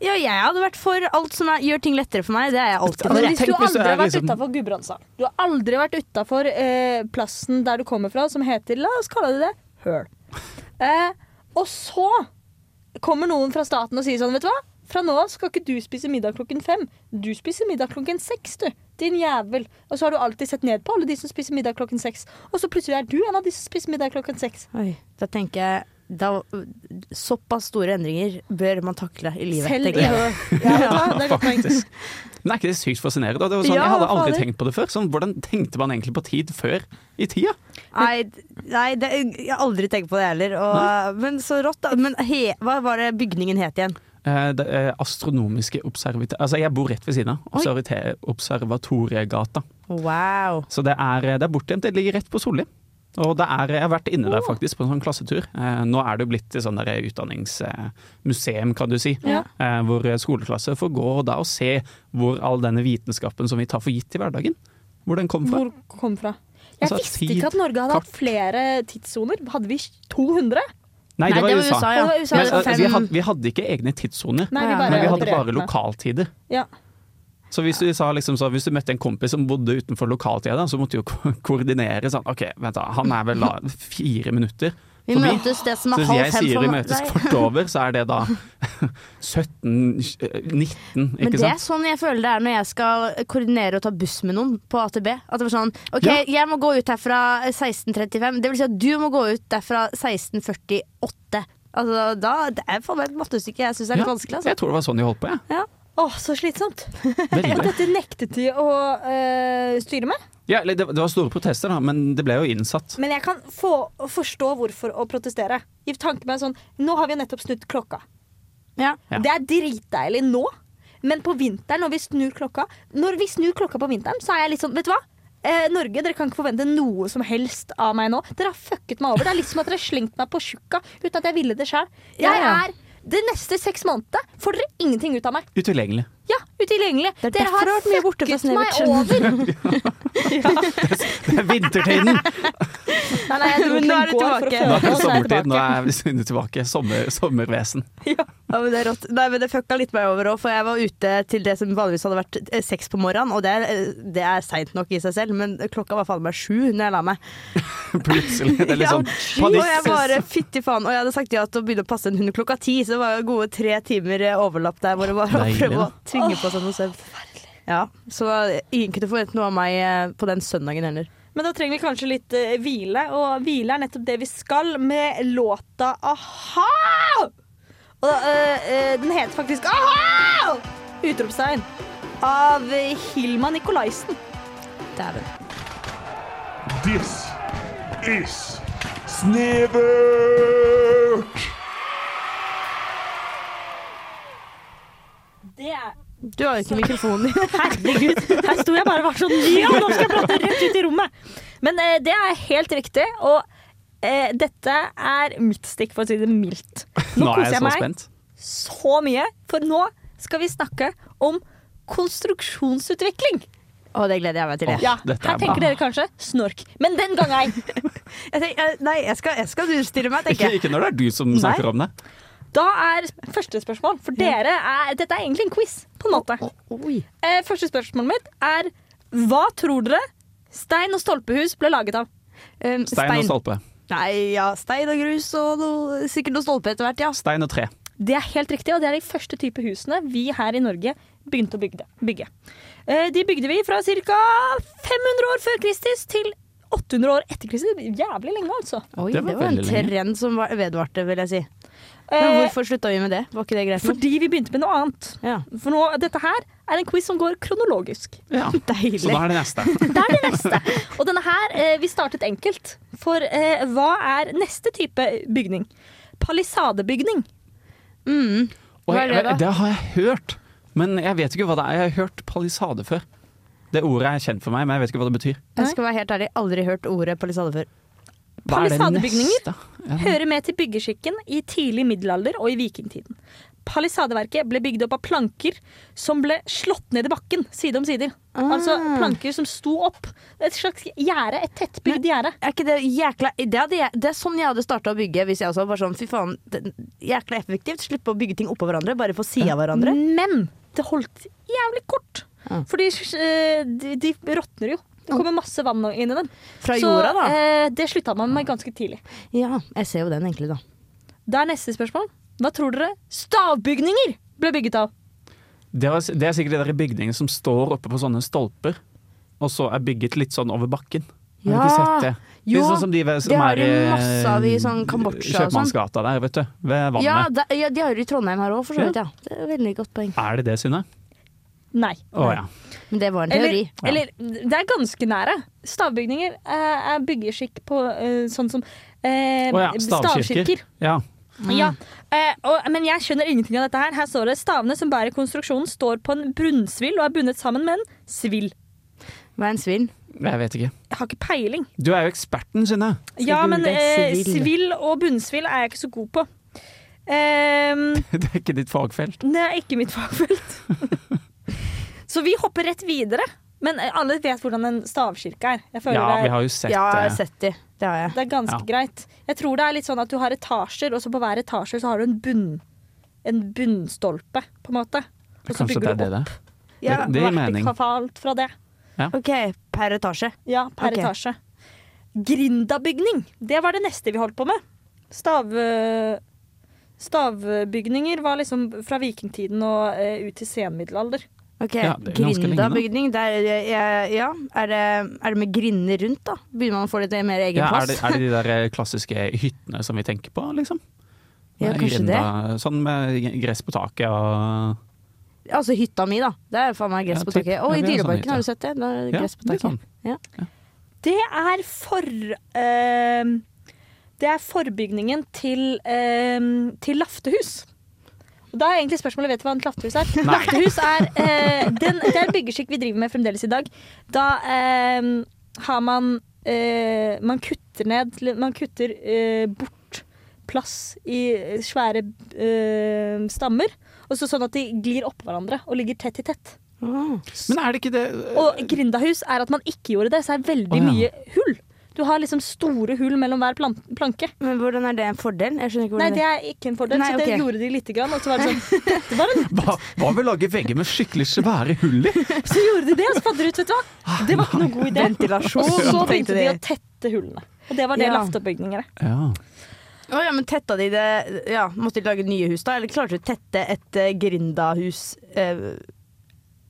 Speaker 8: Ja, jeg hadde vært for alt som er, gjør ting lettere for meg. Det er jeg alltid
Speaker 9: Men
Speaker 8: for.
Speaker 9: jeg
Speaker 7: Hvis du
Speaker 9: tenker hvis du
Speaker 7: aldri har
Speaker 9: er
Speaker 7: vært
Speaker 9: liksom-
Speaker 7: utenfor Gudbrandsdalen Du har aldri vært utafor eh, plassen der du kommer fra, som heter La oss kalle det det høl. Eh, og så kommer noen fra staten og sier sånn, vet du hva? Fra nå av skal ikke du spise middag klokken fem. Du spiser middag klokken seks, du. Din jævel. Og så har du alltid sett ned på alle de som spiser middag klokken seks. Og så plutselig er du en av de som spiser middag klokken seks.
Speaker 8: Oi, da tenker jeg da, Såpass store endringer bør man takle i livet.
Speaker 7: Selv i
Speaker 8: tenker jeg.
Speaker 7: høl. Ja, vet du hva? det er godt poeng.
Speaker 9: Faktisk. Men er ikke det sykt fascinerende? Og Det var sånn,
Speaker 7: Ja,
Speaker 9: jeg hadde aldri
Speaker 7: fader.
Speaker 9: tenkt på det før. Sånn, hvordan tenkte man egentlig på tid før i tida?
Speaker 8: Nei, nei det, jeg har aldri tenkt på det heller. Og, men så rått, da. Men he, hva var det bygningen het igjen?
Speaker 9: Eh, det eh, astronomiske observita... Altså, jeg bor rett ved siden av. Observate- Observatoriegata.
Speaker 8: Wow.
Speaker 9: Så det er, eh, det er bortgjemt. Det ligger rett på Solli. Og det er, jeg har vært inne der faktisk på en sånn klassetur. Eh, nå er det jo blitt et sånn der utdanningsmuseum, kan du si.
Speaker 7: Ja.
Speaker 9: Eh, hvor skoleklasser får gå da og se hvor all denne vitenskapen som vi tar for gitt i hverdagen, hvor den kom fra.
Speaker 7: Hvor kom fra? Jeg
Speaker 9: Altså,
Speaker 7: visste
Speaker 9: tid,
Speaker 7: ikke at Norge hadde hatt
Speaker 9: kart.
Speaker 7: flere tidssoner. Hadde vi 200?
Speaker 9: Nei, det var
Speaker 7: ja.
Speaker 9: USA.
Speaker 7: Det var USA,
Speaker 9: Men,
Speaker 7: det var
Speaker 9: eh, vi, hadde, vi hadde ikke egne tidssoner,
Speaker 7: Nei, vi
Speaker 8: Ja,
Speaker 7: bare
Speaker 9: Ah, men vi hadde
Speaker 7: opererte
Speaker 9: bare
Speaker 7: med.
Speaker 9: lokaltider.
Speaker 7: Ja.
Speaker 9: Så hvis du, sa liksom, så hvis du møtte en kompis som bodde utenfor lokaltida, da, så måtte du jo ko- koordinere sånn OK, vent da, han er vel da fire minutter
Speaker 8: Vi
Speaker 9: forbi.
Speaker 8: møtes det som
Speaker 9: Så
Speaker 8: er
Speaker 9: hvis jeg
Speaker 8: halv fem
Speaker 9: sier
Speaker 8: for
Speaker 9: vi
Speaker 8: meg.
Speaker 9: møtes
Speaker 8: Nei.
Speaker 9: kvart over, så er det da 17, eh, 19,
Speaker 8: Men
Speaker 9: ikke
Speaker 8: det er
Speaker 9: sant?
Speaker 8: sånn jeg føler det er når jeg skal koordinere og ta buss med noen på AtB. At det var sånn OK,
Speaker 9: Ja.
Speaker 8: jeg må gå ut herfra 16.35. Det vil si at du må gå ut derfra 16.48. Altså, da, det er faen meg et mattestykke jeg syns er litt vanskelig. Altså.
Speaker 9: jeg tror det var sånn de holdt på, jeg.
Speaker 7: Åh, så slitsomt.
Speaker 9: Veldig.
Speaker 7: Og dette nektet de å eh, styre med.
Speaker 9: Ja, eller det, det var store protester, da, men det ble jo innsatt.
Speaker 7: Men jeg kan få, forstå hvorfor å protestere. I tanke med sånn, Nå har vi jo nettopp snudd klokka.
Speaker 8: Ja.
Speaker 9: Ja.
Speaker 7: Det er dritdeilig nå, men på vinteren når vi snur klokka Når vi snur klokka på vinteren, så er jeg litt sånn Vet du hva? Eh, Norge, dere kan ikke forvente noe som helst av meg nå. Dere har fucket meg over. Det er litt som at dere har slengt meg på tjukka uten at jeg ville det sjøl. Jeg
Speaker 8: Ja, ja.
Speaker 7: er De neste seks månedene får dere ingenting ut av meg.
Speaker 9: Utilgjengelig.
Speaker 7: Ja,
Speaker 11: utilgjengelig.
Speaker 8: Det er derfor det har vært mye borte fra
Speaker 11: fucket meg
Speaker 8: Snevert.
Speaker 11: over.
Speaker 9: Det er vintertiden!
Speaker 11: Nei, nei, jeg dro
Speaker 8: Men
Speaker 11: til
Speaker 8: nå er du
Speaker 11: går for å
Speaker 8: tilbake.
Speaker 11: føle
Speaker 9: Nå
Speaker 11: at jeg
Speaker 9: er det sommertid, nå er Sunne tilbake. Sommer, sommervesen.
Speaker 8: Ja, men det er rått. Nei, men det fucka litt meg over òg, for jeg var ute til det som vanligvis hadde vært eh, seks på morgenen, og det er, eh, det er seint nok i seg selv, men klokka var faen meg sju når jeg la meg.
Speaker 9: Plutselig. Det er litt
Speaker 8: Ja,
Speaker 9: sånn
Speaker 8: Og jeg bare,
Speaker 9: panikk.
Speaker 8: fytti faen. Og jeg hadde sagt ja til å begynne å passe en hund klokka ti, så det var jo gode tre timer eh, overlapp der hvor det var å
Speaker 9: Deilig,
Speaker 8: prøve å
Speaker 9: da.
Speaker 8: tvinge på seg noe søvn. Ja, så eh, ingen kunne forvente noe av meg eh, på den søndagen heller.
Speaker 7: Men da trenger vi kanskje litt eh, hvile, og hvile er nettopp det vi skal med låta A-ha! Og eh, eh, den heter faktisk A-ha! Utropstegn. Av eh, Hilma Nikolaisen.
Speaker 8: Dæven.
Speaker 4: This is Snevert!
Speaker 7: Det er
Speaker 8: Du har jo ikke mikrofonen din.
Speaker 7: Herregud, her sto jeg bare og var sånn Ja, nå skal jeg prate rett ut i rommet! Men eh, det er helt riktig, og eh, dette er mitt stikk, for å si det mildt. Nå,
Speaker 9: Nå er
Speaker 7: koser
Speaker 9: jeg
Speaker 7: jeg
Speaker 9: så
Speaker 7: meg
Speaker 9: spent.
Speaker 7: så mye, for nå skal vi snakke om konstruksjonsutvikling.
Speaker 8: Å, det gleder jeg meg til. jeg.
Speaker 7: Ja,
Speaker 9: dette er
Speaker 7: her tenker
Speaker 9: bra.
Speaker 7: dere kanskje snork, men den gang ei.
Speaker 8: Jeg tenker, eh, nei, jeg skal, jeg skal stille meg, tenker
Speaker 9: Ikke,
Speaker 8: jeg.
Speaker 9: ikke når det er du som snakker om det.
Speaker 7: Da er første spørsmål, for dere er Dette er egentlig en quiz, på en måte.
Speaker 8: Oi.
Speaker 7: Eh, første spørsmålet mitt er hva tror dere stein og stolpehus ble laget av? Eh,
Speaker 8: Um,
Speaker 9: Stein og stolpe.
Speaker 8: Nei, ja, stein og grus og noe, sikkert noe stolpe etter hvert, ja.
Speaker 9: Stein og tre.
Speaker 7: Det er helt riktig, og det er de første type husene vi her i Norge begynte å bygge. bygge. Eh, De bygde vi fra ca. 500 år før Kristus til 800 år etter Kristus. Jævlig lenge, altså.
Speaker 8: Oi,
Speaker 9: Det var veldig lenge.
Speaker 8: trend som var- vedvarte, vil jeg si. Men
Speaker 7: Eh,
Speaker 8: hvorfor slutta vi med det? Var ikke det greit nok?
Speaker 7: Fordi vi begynte med noe annet.
Speaker 8: Ja.
Speaker 7: For nå, dette her er en quiz som går kronologisk.
Speaker 9: Ja. Så da
Speaker 8: Deilig.
Speaker 9: er det neste.
Speaker 7: Det er det neste. Og denne her, eh, vi startet enkelt. For eh, hva er neste type bygning? Palisadebygning.
Speaker 9: Og
Speaker 8: Hva er det da?
Speaker 9: jeg, det har jeg hørt, men jeg vet ikke hva det er. Jeg har hørt palisade før. Det ordet er kjent for meg, men jeg vet ikke hva det betyr.
Speaker 8: Jeg skal være helt ærlig, aldri hørt ordet palisade før.
Speaker 9: Hva er det
Speaker 7: Palisadebygninger?
Speaker 9: neste? Ja.
Speaker 7: hører med til byggeskikken i tidlig middelalder og i vikingtiden. Palisadeverket ble bygd opp av planker som ble slått ned i bakken side om sider. Altså
Speaker 8: Ah.
Speaker 7: planker som sto opp. Et slags gjerde. Et tettbygd gjerde.
Speaker 8: Er ikke det jækla Det, hadde jeg, det er sånn jeg hadde starta å bygge hvis jeg også var sånn fy faen, det, jækla effektivt. Slippe å bygge ting oppå hverandre, bare få sida av hverandre.
Speaker 7: Men det holdt jævlig kort.
Speaker 8: Ja.
Speaker 7: Fordi eh, de, de råtner jo. Det kommer masse vann inn i dem.
Speaker 8: Fra jorda, da.
Speaker 7: Så eh, det slutta man med ganske tidlig.
Speaker 8: Ja, jeg ser jo den egentlig, da.
Speaker 7: Da er neste spørsmål. Hva tror dere stavbygninger ble bygget av?
Speaker 9: Det, var, det er sikkert de der bygningene som står oppe på sånne stolper, og så er bygget litt sånn over bakken. Har du ikke
Speaker 8: Ja.
Speaker 9: sett det?
Speaker 8: Jo,
Speaker 9: det er sånn som de ved- som
Speaker 8: det har
Speaker 9: er
Speaker 8: de masse av i sånn Kambodsja og sånn.
Speaker 9: Kjøpmannsgata der, vet du. Ved vannet.
Speaker 8: Ja, da, ja, de har jo i Trondheim her òg, for så vidt. Ja. Det er et veldig godt poeng.
Speaker 9: Er det det, Synne?
Speaker 7: Nei.
Speaker 9: Å ja.
Speaker 8: Men det var en
Speaker 7: Eller,
Speaker 8: teori.
Speaker 7: eller det er ganske nære. Stavbygninger eh, er byggeskikk på eh, sånn som eh,
Speaker 9: Å ja. Stavkirker.
Speaker 7: stavkirker.
Speaker 9: Ja.
Speaker 7: Ja. Eh, og, men jeg skjønner ingenting av dette her. Her står det stavene som bærer konstruksjonen, står på en brunnsvill og er bundet sammen med en svill.
Speaker 8: Hva er en svinn?
Speaker 9: Jeg vet ikke.
Speaker 7: Jeg har ikke peiling.
Speaker 9: Du er jo eksperten, Synne.
Speaker 7: Ja, men
Speaker 8: google
Speaker 7: eh,
Speaker 8: svill.
Speaker 7: svill og bunnsvill er jeg ikke så god på. Eh,
Speaker 9: Det er ikke ditt fagfelt.
Speaker 7: Det er ikke mitt fagfelt. så vi hopper rett videre. Men eh, alle vet hvordan en stavkirke er. Jeg føler
Speaker 9: Ja,
Speaker 7: det
Speaker 9: vi
Speaker 7: er
Speaker 9: har jo sett eh.
Speaker 8: Ja, jeg
Speaker 9: det.
Speaker 8: har sett de. Det har jeg.
Speaker 7: Det er ganske
Speaker 9: Ja.
Speaker 7: greit. Jeg tror det er litt sånn at du har etasjer, og så på hver etasje så har du en bunn en bunnstolpe, på en måte. Og så
Speaker 9: Kanskje
Speaker 7: bygger
Speaker 9: det er
Speaker 7: du
Speaker 9: det
Speaker 7: opp
Speaker 9: det er.
Speaker 7: ja,
Speaker 9: det- det gir mening.
Speaker 7: vertikalt fra det.
Speaker 8: OK, per etasje.
Speaker 7: Ja, per
Speaker 8: Ok.
Speaker 7: etasje. Grindabygning, det var det neste vi holdt på med. Stav, eh, stavbygninger var liksom fra vikingtiden og eh, ut til senmiddelalder.
Speaker 8: Ok,
Speaker 9: Ja, det er ganske lenge, da.
Speaker 8: Grindabygning, der, ja, ja. Er, det, er det med grinder rundt, da? Begynner man å få litt mer egen
Speaker 9: Ja, er,
Speaker 8: plass?
Speaker 9: det, er det de der eh, klassiske hyttene som vi tenker på, liksom?
Speaker 8: Ja,
Speaker 9: Med
Speaker 8: kanskje det.
Speaker 9: grinda- Sånn med g- gress på taket og
Speaker 8: Altså hytta mi, da. Det er faen meg gress
Speaker 9: Ja,
Speaker 8: på
Speaker 9: typ.
Speaker 8: taket. Og
Speaker 9: Ja, vi har
Speaker 8: i
Speaker 9: sånn
Speaker 8: Dyreparken,
Speaker 9: hytte.
Speaker 8: har du sett det? Da er det
Speaker 9: Ja,
Speaker 8: gress på
Speaker 9: litt
Speaker 8: taket.
Speaker 9: sånn.
Speaker 8: Ja.
Speaker 7: Det er for eh, Det er forbygningen til, eh, til Laftehus. Og Da er egentlig spørsmålet vet du hva en laftehus er.
Speaker 9: Nei.
Speaker 7: Laftehus er eh, den, Det er en byggeskikk vi driver med fremdeles i dag. Da eh, har man eh, Man kutter ned Man kutter eh, bort plass i svære eh, stammer. Og
Speaker 12: Og så sånn at de glir oppå hverandre og ligger tett i tett.
Speaker 9: Men er det ikke det eh,
Speaker 12: Og grindahus er at man ikke gjorde det, så er veldig
Speaker 9: Å, ja.
Speaker 12: mye hull. Du har liksom store hull mellom hver plan planke.
Speaker 8: Men hvordan er det en fordel? Jeg skjønner ikke
Speaker 12: Nei,
Speaker 8: hvordan
Speaker 12: det er ikke en fordel,
Speaker 8: Nei,
Speaker 12: så det
Speaker 8: ok.
Speaker 12: gjorde de lite grann. Og så var det sånn Dette var en
Speaker 9: Hva, hva med å lage vegger med skikkelig svære hull i?
Speaker 12: Så gjorde de det, og så fant de ut, vet du hva. Det var ikke noen god idé.
Speaker 8: Ventilasjon,
Speaker 12: Og så
Speaker 8: tenkte
Speaker 12: begynte de
Speaker 8: de.
Speaker 12: å tette hullene. Og det var det
Speaker 8: Ja.
Speaker 12: laftebygninger er.
Speaker 9: Ja.
Speaker 8: Å ja, men tetta de det ja, Måtte de lage nye hus da? Eller klarte de å tette et eh, grindahus eh,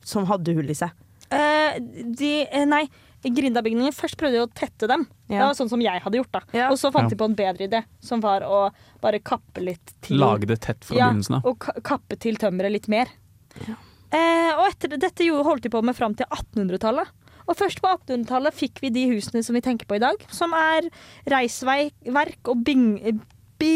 Speaker 8: som hadde hull i seg?
Speaker 12: Eh, de, eh, nei, grindabygninger. Først prøvde de å tette dem.
Speaker 8: Ja.
Speaker 12: Det var sånn som jeg hadde gjort. da.
Speaker 8: Ja.
Speaker 12: Og så fant
Speaker 9: Ja.
Speaker 12: de på en bedre idé, som var å bare kappe litt til.
Speaker 9: Lage det tett fra
Speaker 12: ja,
Speaker 9: begynnelsen av.
Speaker 12: Og ka kappe til tømmeret litt mer. Eh, og etter, det- dette jo- holdt de på med fram til 1800-tallet. Og først på 1800-tallet fikk vi de husene som vi tenker på i dag, som er reisverk og bing eh,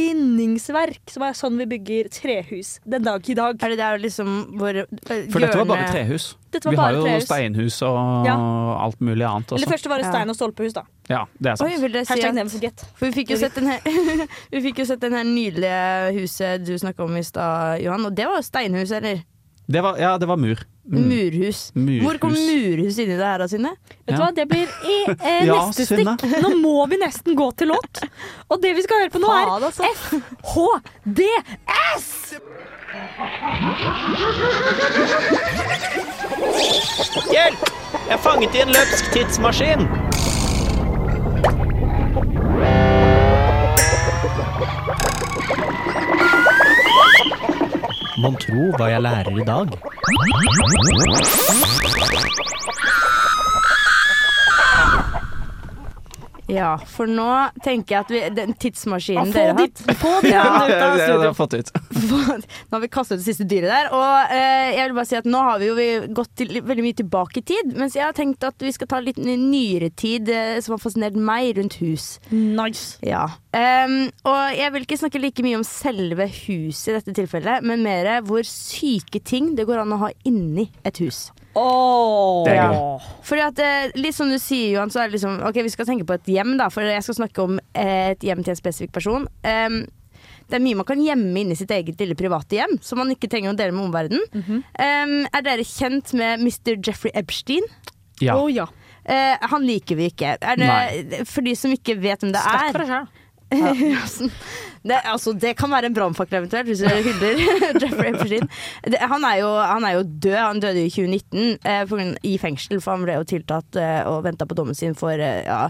Speaker 12: bindingsverk, som er sånn vi bygger trehus den dag i dag.
Speaker 8: Er det der liksom hvor eh,
Speaker 9: For dette var bare
Speaker 8: hjørnet-
Speaker 9: trehus.
Speaker 12: Dette var
Speaker 9: Vi
Speaker 12: bare
Speaker 9: har jo
Speaker 12: trehus.
Speaker 9: steinhus og alt mulig annet
Speaker 12: Eller
Speaker 9: også.
Speaker 12: først var det
Speaker 8: Ja.
Speaker 12: stein- og stolpehus, da.
Speaker 9: Ja, det er
Speaker 8: Oi,
Speaker 9: sant.
Speaker 8: vil dere si
Speaker 12: Hashtag
Speaker 8: at
Speaker 12: never forget.
Speaker 8: For vi fikk jo sett den her, vi fikk jo sett den her nydelige huset du snakka om i stad, Johan. Og det var jo steinhus, eller?
Speaker 9: Det var, ja, det var mur. Mm.
Speaker 8: Murhus.
Speaker 9: Murhus.
Speaker 8: Hvor kom murhus inn i det her, da, Synne?
Speaker 12: Vet du
Speaker 9: Ja.
Speaker 12: hva, det blir i eh,
Speaker 9: Ja,
Speaker 12: neste
Speaker 9: Synne.
Speaker 12: stikk. Nå må vi nesten gå til låt. Og det vi skal høre på nå,
Speaker 8: Faen,
Speaker 12: er
Speaker 8: altså.
Speaker 12: FHDS!
Speaker 2: Hjelp! Jeg er fanget i en løpsk tidsmaskin! Mon tro hva jeg lærer i dag?
Speaker 8: Ja, for nå tenker jeg at vi, den
Speaker 12: Få
Speaker 8: tidsmaskinen dere har
Speaker 12: ditt- få ditt
Speaker 9: Ja, det, det, det har
Speaker 8: hatt
Speaker 9: jeg fått ut.
Speaker 8: Nå har vi kastet ut det siste dyret der. Og eh, jeg vil bare si at nå har vi jo vi gått til, veldig mye tilbake i tid. Mens jeg har tenkt at vi skal ta litt nyere tid eh, som har fascinert meg, rundt hus.
Speaker 12: Nice.
Speaker 8: Ja. Ehm, og jeg vil ikke snakke like mye om selve huset i dette tilfellet, men mer hvor syke ting det går an å ha inni et hus.
Speaker 9: Det er
Speaker 8: Ja.
Speaker 9: gøy.
Speaker 8: Fordi at, eh, litt som du sier, Johan, så er det liksom Ok, vi skal tenke på et hjem, da, for jeg skal snakke om eh, et hjem til en spesifikk person. Ehm, det er mye man kan gjemme inni sitt eget lille private hjem, som man ikke trenger å dele med omverdenen. Ehm, er dere kjent med Mr. Jeffrey Epstein?
Speaker 9: Ja.
Speaker 12: Å ja.
Speaker 8: Eh, han liker vi ikke. Er det, for de som ikke vet hvem det
Speaker 12: deg
Speaker 8: er
Speaker 12: sjøl.
Speaker 8: Johansen. Det, altså, det kan være en brannfakkel eventuelt, hvis du hyller Jeffrey Epstein. Det, han, er jo, han er jo død. Han døde i 2019 eh, på grunn, i fengsel, for han ble jo tiltalt eh, og venta på dommen sin for eh, ja,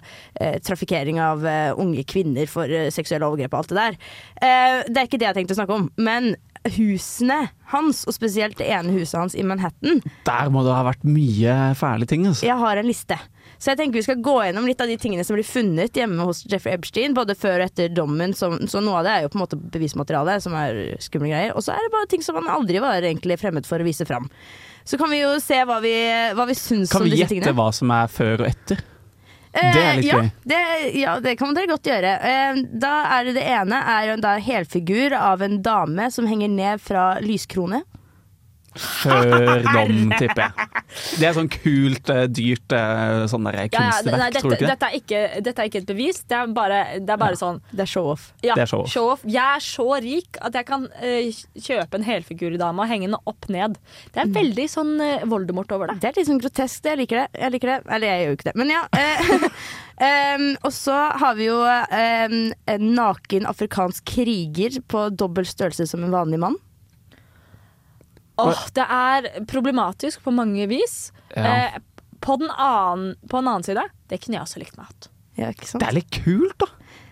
Speaker 8: eh, trafikkering av eh, unge kvinner for eh, seksuelle overgrep og alt det der. Eh, det er ikke det jeg tenkte å snakke om, men husene hans, og spesielt det ene huset hans i Manhattan,
Speaker 9: Der må det ha vært mye fæle ting, altså.
Speaker 8: jeg har en liste. Så jeg tenker vi skal gå gjennom litt av de tingene som blir funnet hjemme hos Jeffrey Epstein, både før og etter dommen. Som, så noe av det er jo på en måte bevismateriale, som er skumle greier. Og så er det bare ting som han aldri var egentlig fremmed for å vise fram. Så kan vi jo se hva vi, hva vi syns
Speaker 9: Kan
Speaker 8: om
Speaker 9: vi
Speaker 8: disse
Speaker 9: gjette
Speaker 8: tingene. Eh,
Speaker 9: hva som er før og etter? Det er litt
Speaker 8: ja,
Speaker 9: gøy.
Speaker 8: Det, ja, det kan dere godt gjøre. Eh, Da er det det ene er jo en da helfigur av en dame som henger ned fra lyskrone.
Speaker 9: Før dom, tipper jeg. Det er sånn kult, eh, dyrt eh, sånn der
Speaker 7: Ja, ja,
Speaker 9: kunstverk,
Speaker 7: nei, dette,
Speaker 9: tror du ikke det?
Speaker 7: dette, er ikke, dette er ikke et bevis, det er bare, det er bare sånn
Speaker 8: Det er show-off.
Speaker 7: ja,
Speaker 9: Det er show-off.
Speaker 7: show-off. Jeg er så rik at jeg kan eh, kjøpe en helfigurdame og henge henne opp ned. Det er veldig sånn eh, Voldemort over det.
Speaker 8: Det er litt sånn grotesk, det. Jeg liker det. Jeg liker det. Eller jeg gjør jo ikke det, men ja. eh, em, og så har vi jo em, en naken afrikansk kriger på dobbel størrelse som en vanlig mann.
Speaker 7: Åh, det er problematisk på mange vis.
Speaker 9: Ja.
Speaker 7: Eh, på, den annen, på en annen side, det kunne jeg også likt meg hatt.
Speaker 8: Ja, ikke sant?
Speaker 9: Det er litt kult, da.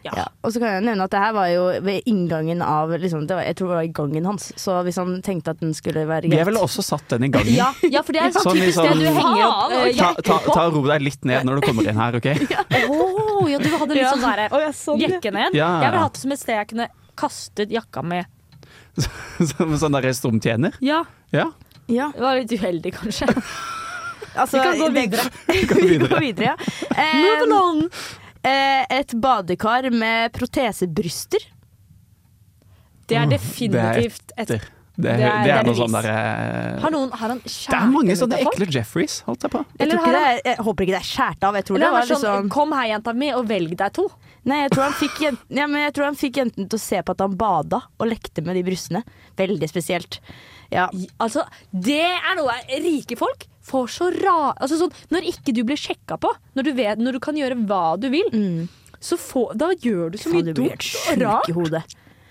Speaker 8: Ja. Og så kan jeg nevne at det her var jo ved inngangen av liksom, det var, Jeg tror det var i gangen hans, så hvis han tenkte at den skulle være
Speaker 9: Jeg ville
Speaker 8: greit
Speaker 9: også satt den i gangen.
Speaker 7: Ja, ja for det er
Speaker 9: Sånn
Speaker 7: sånn typisk
Speaker 9: liksom-
Speaker 7: det du henger opp eh,
Speaker 9: Ta, ta,
Speaker 7: jakken på.
Speaker 9: ta og Ro deg litt ned når du kommer inn her, OK?
Speaker 7: Åh, ja, du hadde litt sånn derre
Speaker 12: Å, ja, sånn, ja.
Speaker 7: jekke ned.
Speaker 9: Ja.
Speaker 7: Jeg ville hatt det som et sted jeg kunne kastet jakka med.
Speaker 9: Som en sånn derre strømtjener.
Speaker 7: Ja,
Speaker 9: Ja.
Speaker 8: Ja,
Speaker 7: det var litt uheldig, kanskje.
Speaker 8: altså,
Speaker 7: Vi kan gå
Speaker 8: det-
Speaker 7: videre.
Speaker 8: vi går videre ja. Em, eh, et badekar med protesebryster.
Speaker 7: Det er
Speaker 9: Åh,
Speaker 7: definitivt et
Speaker 9: Det, det,
Speaker 7: Det er- Ah,
Speaker 9: det
Speaker 7: det er
Speaker 9: er noe
Speaker 7: bevis.
Speaker 9: sånn derre
Speaker 7: Har noen har han
Speaker 9: Det er mange sånne ekle Jeffreys, holdt jeg på.
Speaker 8: Jeg,
Speaker 7: Eller
Speaker 8: tror ikke
Speaker 7: har
Speaker 8: det er, jeg håper ikke det er skjært av. Jeg tror
Speaker 7: Eller
Speaker 8: det
Speaker 7: han
Speaker 8: var
Speaker 7: er sånn
Speaker 8: liksom
Speaker 7: 'kom her, jenta mi, og velg deg to'.
Speaker 8: Nei, jeg tror han fikk, jenten, ja, men jeg tror han fikk jentene til å se på at han bada og lekte med de brystene. Veldig spesielt. Ja.
Speaker 7: Altså, det er noe rike folk får så ra... Altså sånn, når ikke du blir sjekka på, når du, vet, når du kan gjøre hva du vil, så få, da gjør du så
Speaker 8: Faen,
Speaker 7: mye
Speaker 8: du blir helt
Speaker 7: dumt
Speaker 8: sjuk
Speaker 7: og
Speaker 8: i
Speaker 7: rart.
Speaker 8: hodet.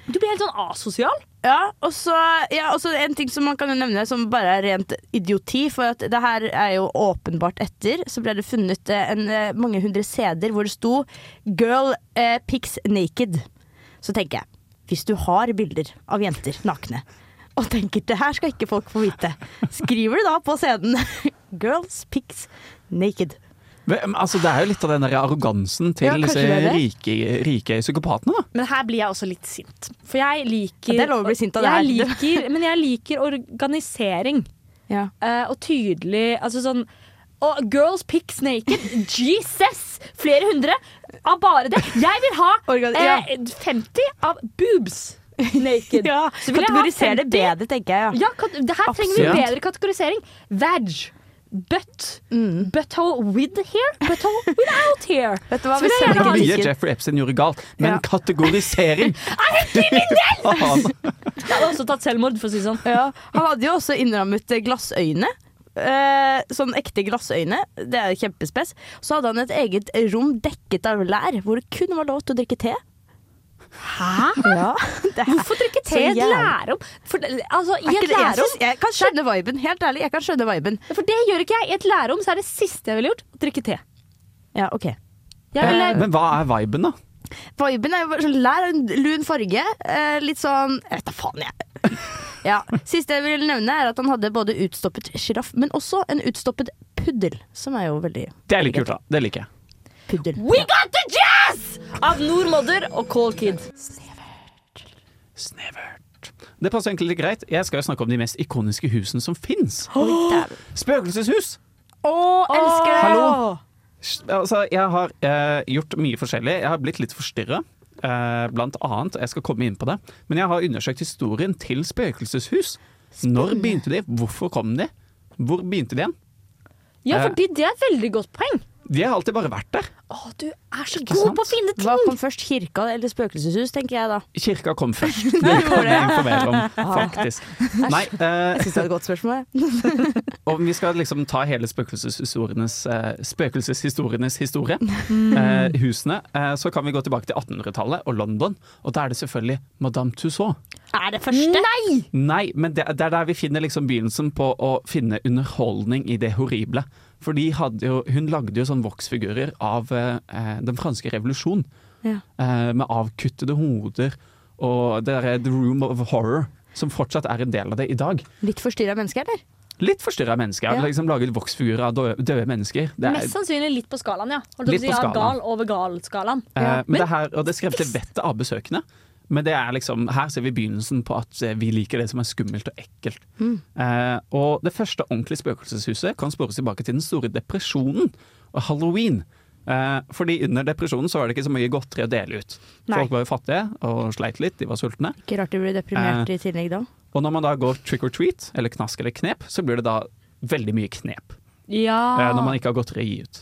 Speaker 7: Du blir helt sånn asosial.
Speaker 8: Ja, og så ja, og så en ting som man kan jo nevne som bare er rent idioti, for at det her er jo åpenbart etter, så ble det funnet eh, en, eh, mange hundre CD-er hvor det sto 'Girl eh, pics naked'. Så tenker jeg, hvis du har bilder av jenter nakne, og tenker det her skal ikke folk få vite, skriver du da på CD-en 'Girls pics naked'.
Speaker 9: Men, altså, det er jo litt av den der arrogansen til
Speaker 7: Ja, kanskje
Speaker 9: disse
Speaker 7: det er
Speaker 9: rike, rike psykopatene, da.
Speaker 7: Men her blir jeg også litt sint. For jeg liker
Speaker 8: Ja, det er lov å bli sint av det
Speaker 7: jeg
Speaker 8: her.
Speaker 7: Liker, men jeg liker organisering.
Speaker 8: Ja.
Speaker 7: Eh, og tydelig Altså sånn og Girls pics naked. Jesus! Flere hundre av bare det. Jeg vil ha
Speaker 8: Organ-
Speaker 7: eh, 50 av boobs naked.
Speaker 8: Ja,
Speaker 7: Så vil jeg ha
Speaker 8: Kategoriser det
Speaker 7: 50.
Speaker 8: bedre, tenker jeg. Ja.
Speaker 7: Ja, kat det her trenger vi
Speaker 9: Absolutt.
Speaker 7: bedre kategorisering. Vag. Butt.
Speaker 8: Mm.
Speaker 7: Butthole with here. Butthole without here.
Speaker 8: Vet du hva,
Speaker 7: Så vil
Speaker 8: vi
Speaker 7: jeg
Speaker 8: sender
Speaker 7: gjerne
Speaker 9: Ikke
Speaker 7: ha
Speaker 9: mye
Speaker 8: sikkert-
Speaker 9: Jeffrey Epstein gjorde galt, men
Speaker 8: Ja.
Speaker 9: kategorisering! er kriminell!
Speaker 7: Jeg hadde også tatt selvmord, for å si det sånn.
Speaker 8: Ja, han hadde jo også innrammet eh, glassøyne. Eh, sånn ekte glassøyne. Det er jo kjempespes. Så hadde han et eget rom dekket av lær, hvor det kun var lov til å drikke te. Hæ? Ja, det er,
Speaker 7: Hvorfor drikke
Speaker 8: Så
Speaker 7: te i et
Speaker 8: jævlig.
Speaker 7: lærerom? For, det- altså, I
Speaker 8: er
Speaker 7: et
Speaker 8: ikke det, jeg,
Speaker 7: lærerom
Speaker 8: synes, jeg kan skjønne viben. Helt ærlig, jeg kan skjønne viben.
Speaker 7: For det gjør ikke jeg. I et lærerom så er det siste jeg ville gjort, å drikke te.
Speaker 8: Ja, ok
Speaker 7: Jeg ville,
Speaker 9: Men hva er viben, da?
Speaker 8: Viben er jo bare sånn lær, en lun farge. Eh, litt sånn Jeg vet da faen, jeg. Ja. Siste jeg vil nevne, er at han hadde både utstoppet sjiraff, men også en utstoppet puddel. Som er jo veldig
Speaker 9: Det er litt kult, da. Det liker jeg.
Speaker 8: puddel.
Speaker 7: We got the jazz! Av Nordmodder og Cold Kid.
Speaker 9: Snevert. Det passer egentlig litt greit. Jeg skal jo snakke om de mest ikoniske husene som fins.
Speaker 8: dæven.
Speaker 9: Spøkelseshus!
Speaker 8: elsker det!
Speaker 9: Hallo! Altså, jeg har eh, gjort mye forskjellig. Jeg har blitt litt forstyrra. eh, blant annet, jeg skal komme inn på det, men jeg har undersøkt historien til spøkelseshus. Når begynte de? Hvorfor kom de? Hvor begynte de igjen?
Speaker 7: Ja, fordi det er et veldig godt poeng.
Speaker 9: De har alltid bare vært der.
Speaker 7: Å, du er så
Speaker 9: Ikke
Speaker 7: god
Speaker 9: sant?
Speaker 7: på å finne ting!
Speaker 8: Hva kom først, kirka eller spøkelseshus, tenker jeg da.
Speaker 9: Kirka kom først. Det kan jeg informere om, faktisk. Nei, eh,
Speaker 8: Jeg synes det er et godt spørsmål. jeg.
Speaker 9: Om vi skal liksom ta hele spøkelseshistorienes, eh, spøkelseshistorienes historie, eh, husene, eh, så kan vi gå tilbake til 1800-tallet og London. Og da er det selvfølgelig Madame Tussauds.
Speaker 7: Er det første? Nei!
Speaker 9: Nei, men det, det er der vi finner liksom begynnelsen på å finne underholdning i det horrible. For de hadde jo, hun lagde jo sånn voksfigurer av eh, eh, den franske revolusjon.
Speaker 8: Ja.
Speaker 9: Eh, med avkuttede hoder og det derre The Room of Horror, som fortsatt er en del av det i dag.
Speaker 8: Mm. Litt forstyrra menneske, eller?
Speaker 9: Litt forstyrra mennesker. Jeg har
Speaker 8: Ja.
Speaker 9: liksom laget voksfigurer av døde, døde mennesker. Det er,
Speaker 7: Mest sannsynlig litt på skalaen, ja. Holdt
Speaker 9: Litt
Speaker 7: litt på
Speaker 9: på
Speaker 7: skalaen.
Speaker 9: skalaen.
Speaker 7: Gal over gal-skalaen.
Speaker 9: eh, men det her, og det skremte vettet av besøkende. Men det er liksom, her ser vi begynnelsen på at eh, vi liker det som er skummelt og ekkelt. Eh, og det første ordentlige spøkelseshuset kan spores tilbake til den store depresjonen og halloween. Eh, fordi under depresjonen så var det ikke så mye godteri å dele ut. Folk var jo fattige og sleit litt, de var sultne.
Speaker 8: Ikke rart de blir deprimert i tillegg da.
Speaker 9: Og når man da går trick or treat, eller knask eller knep, så blir det da veldig mye knep. eh, når man ikke har godteri å gi ut.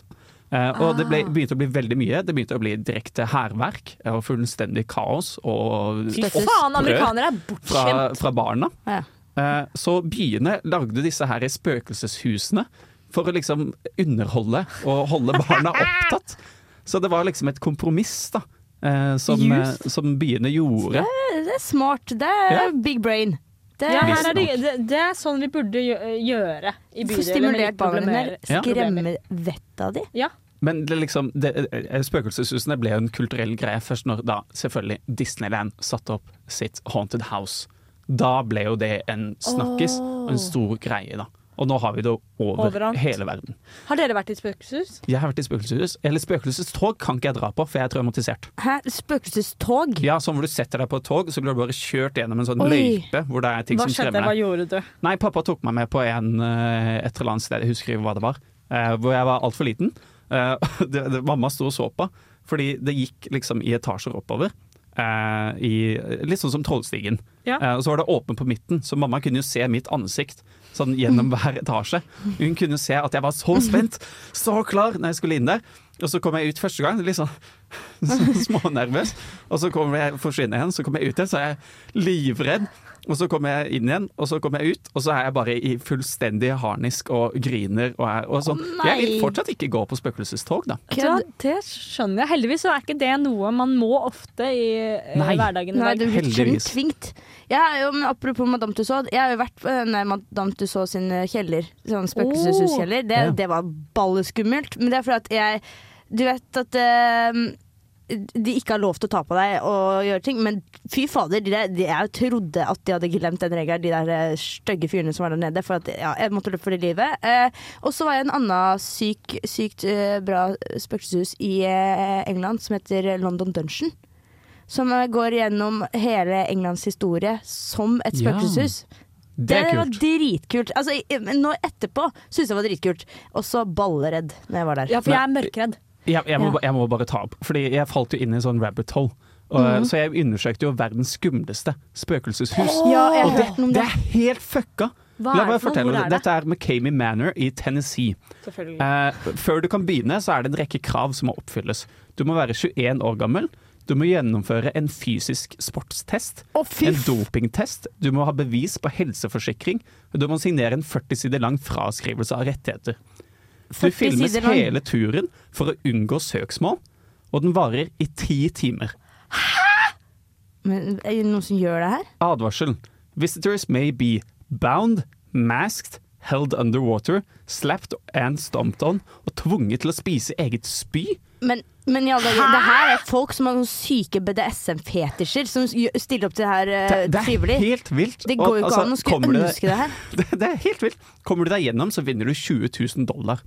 Speaker 9: Eh, og det ble,
Speaker 7: Ah.
Speaker 9: begynte å bli veldig mye. Det begynte å bli direkte hærverk eh, og fullstendig kaos og
Speaker 7: Faen,
Speaker 8: Støttes.
Speaker 9: opprør
Speaker 7: amerikanere er
Speaker 9: fra,
Speaker 7: bortskjemt.
Speaker 9: fra barna.
Speaker 8: Ja.
Speaker 9: Eh, så byene lagde disse her i spøkelseshusene for å liksom underholde og holde barna opptatt. Så det var liksom et kompromiss da, eh, som, eh, som byene gjorde.
Speaker 8: Det er smart. Det er
Speaker 9: Ja.
Speaker 8: big brain. Det
Speaker 7: Ja,
Speaker 8: er
Speaker 7: her er det, det, det er sånn vi burde gjø- gjøre i
Speaker 8: Få
Speaker 7: bydeler.
Speaker 8: stimulert barna dine.
Speaker 9: Ja.
Speaker 8: Skremme vettet av de.
Speaker 7: Ja.
Speaker 9: Men det liksom, det, eh, spøkelseshusene ble jo en kulturell greie først når da selvfølgelig Disneyland satte opp sitt Haunted House. Da ble jo det en snakkis og en stor greie, da. Og nå har vi det over
Speaker 7: Overalt.
Speaker 9: hele verden.
Speaker 7: Har dere vært i spøkelseshus?
Speaker 9: Jeg har vært i spøkelseshus. Eller spøkelsestog kan ikke jeg dra på, for jeg er traumatisert.
Speaker 8: Hæ? Spøkelsestog?
Speaker 9: Ja, sånn hvor du setter deg på et tog, så blir du bare kjørt gjennom en sånn
Speaker 8: Oi.
Speaker 9: løype hvor det er ting
Speaker 7: Hva
Speaker 9: som
Speaker 7: skjedde?
Speaker 9: skremmer
Speaker 7: Hva
Speaker 9: deg.
Speaker 7: gjorde du?
Speaker 9: Nei, pappa tok meg med på en, eh, et eller annet sted, jeg husker ikke hva det var, eh, hvor jeg var altfor liten. Eh, det, det, mamma sto og så på, fordi det gikk liksom i etasjer oppover. eh, i, litt sånn som Trollstigen.
Speaker 7: Ja.
Speaker 9: Eh, og så var det åpen på midten, så mamma kunne jo se mitt ansikt sånn gjennom hver etasje. Hun kunne se at jeg var så spent, så klar når jeg skulle inn der. Og så kom jeg ut første gang, litt sånn smånervøs. Og så kommer jeg, forsvinner jeg igjen, så kommer jeg ut igjen, så er jeg livredd. Og så kommer jeg inn igjen, og så kommer jeg ut, og så er jeg bare i fullstendig harnisk og griner. Og er, og sånn.
Speaker 7: Å, nei.
Speaker 9: jeg vil fortsatt ikke gå på spøkelsestog, da.
Speaker 7: Ja, det skjønner jeg. Heldigvis så er ikke det noe man må ofte i eh,
Speaker 9: Nei.
Speaker 7: hverdagen. i
Speaker 8: Nei,
Speaker 7: dag.
Speaker 8: du blir tvunget.
Speaker 9: Heldigvis.
Speaker 8: tvingt. Jeg er jo, men apropos Madame Tussauds, jeg har jo vært på denne Madame Tussauds sin eh, kjeller. Sånn spøkelseshuskjeller. Det,
Speaker 9: Ja.
Speaker 8: det var balleskummelt. Men det er fordi at jeg Du vet at eh, de ikke har lov til å ta på deg og gjøre ting, men fy fader, de der, de, jeg trodde at de hadde glemt den regelen, de der eh, stygge fyrene som var der nede. For at, ja, jeg måtte løpe for det livet. Eh, og så var jeg i en annen syk, sykt eh, bra spøkelseshus i eh, England som heter London Dungeon. Som eh, går gjennom hele Englands historie som
Speaker 9: Ja.
Speaker 8: et spøkelseshus.
Speaker 9: Det er
Speaker 8: var
Speaker 9: kult.
Speaker 8: dritkult. Altså, i- men nå etterpå syns jeg det var dritkult. Og så balleredd når jeg var der.
Speaker 12: Ja, for jeg er mørkredd.
Speaker 9: Jeg, jeg, må,
Speaker 8: Ja.
Speaker 9: ba- jeg må bare ta opp, fordi jeg falt jo inn i en sånn rabbit hole. Og, Så jeg undersøkte jo verdens skumleste spøkelseshus.
Speaker 8: Ja, jeg
Speaker 9: Og
Speaker 8: har
Speaker 9: det,
Speaker 8: hørt noe om
Speaker 9: det
Speaker 8: det.
Speaker 9: er helt fucka!
Speaker 12: Hva
Speaker 9: La
Speaker 12: er
Speaker 9: meg
Speaker 12: det for noe?
Speaker 9: fortelle
Speaker 12: Hvor
Speaker 9: deg.
Speaker 12: er det?
Speaker 9: Dette er McCamey Manor i Tennessee.
Speaker 12: Selvfølgelig.
Speaker 9: Eh, før du kan begynne, så er det en rekke krav som må oppfylles. Du må være 21 år gammel. Du må gjennomføre en fysisk sportstest.
Speaker 8: Å, fy
Speaker 9: en dopingtest. Du må ha bevis på helseforsikring. og Du må signere en 40 sider lang fraskrivelse av rettigheter. Du
Speaker 8: 40
Speaker 9: filmes
Speaker 8: sider lang.
Speaker 9: hele turen for å unngå søksmål, og den varer i ti timer.
Speaker 8: Men er det noen som gjør det her?
Speaker 9: Advarsel. Visitors may be bound, masked, held underwater, slapped and stomped on og tvunget til å spise eget spy.
Speaker 8: Men, men i alle dager, det her er folk som har sånne syke BDSM-fetisjer som gjø- stiller opp til det her eh,
Speaker 9: Det, det er
Speaker 8: frivillig.
Speaker 9: helt vilt.
Speaker 8: Det
Speaker 9: Og
Speaker 8: går jo ikke
Speaker 9: altså,
Speaker 8: an å skulle
Speaker 9: kommer du deg-
Speaker 8: ønske det her.
Speaker 9: Det, det er helt vilt. Kommer du deg gjennom, så vinner du 20 000 dollar.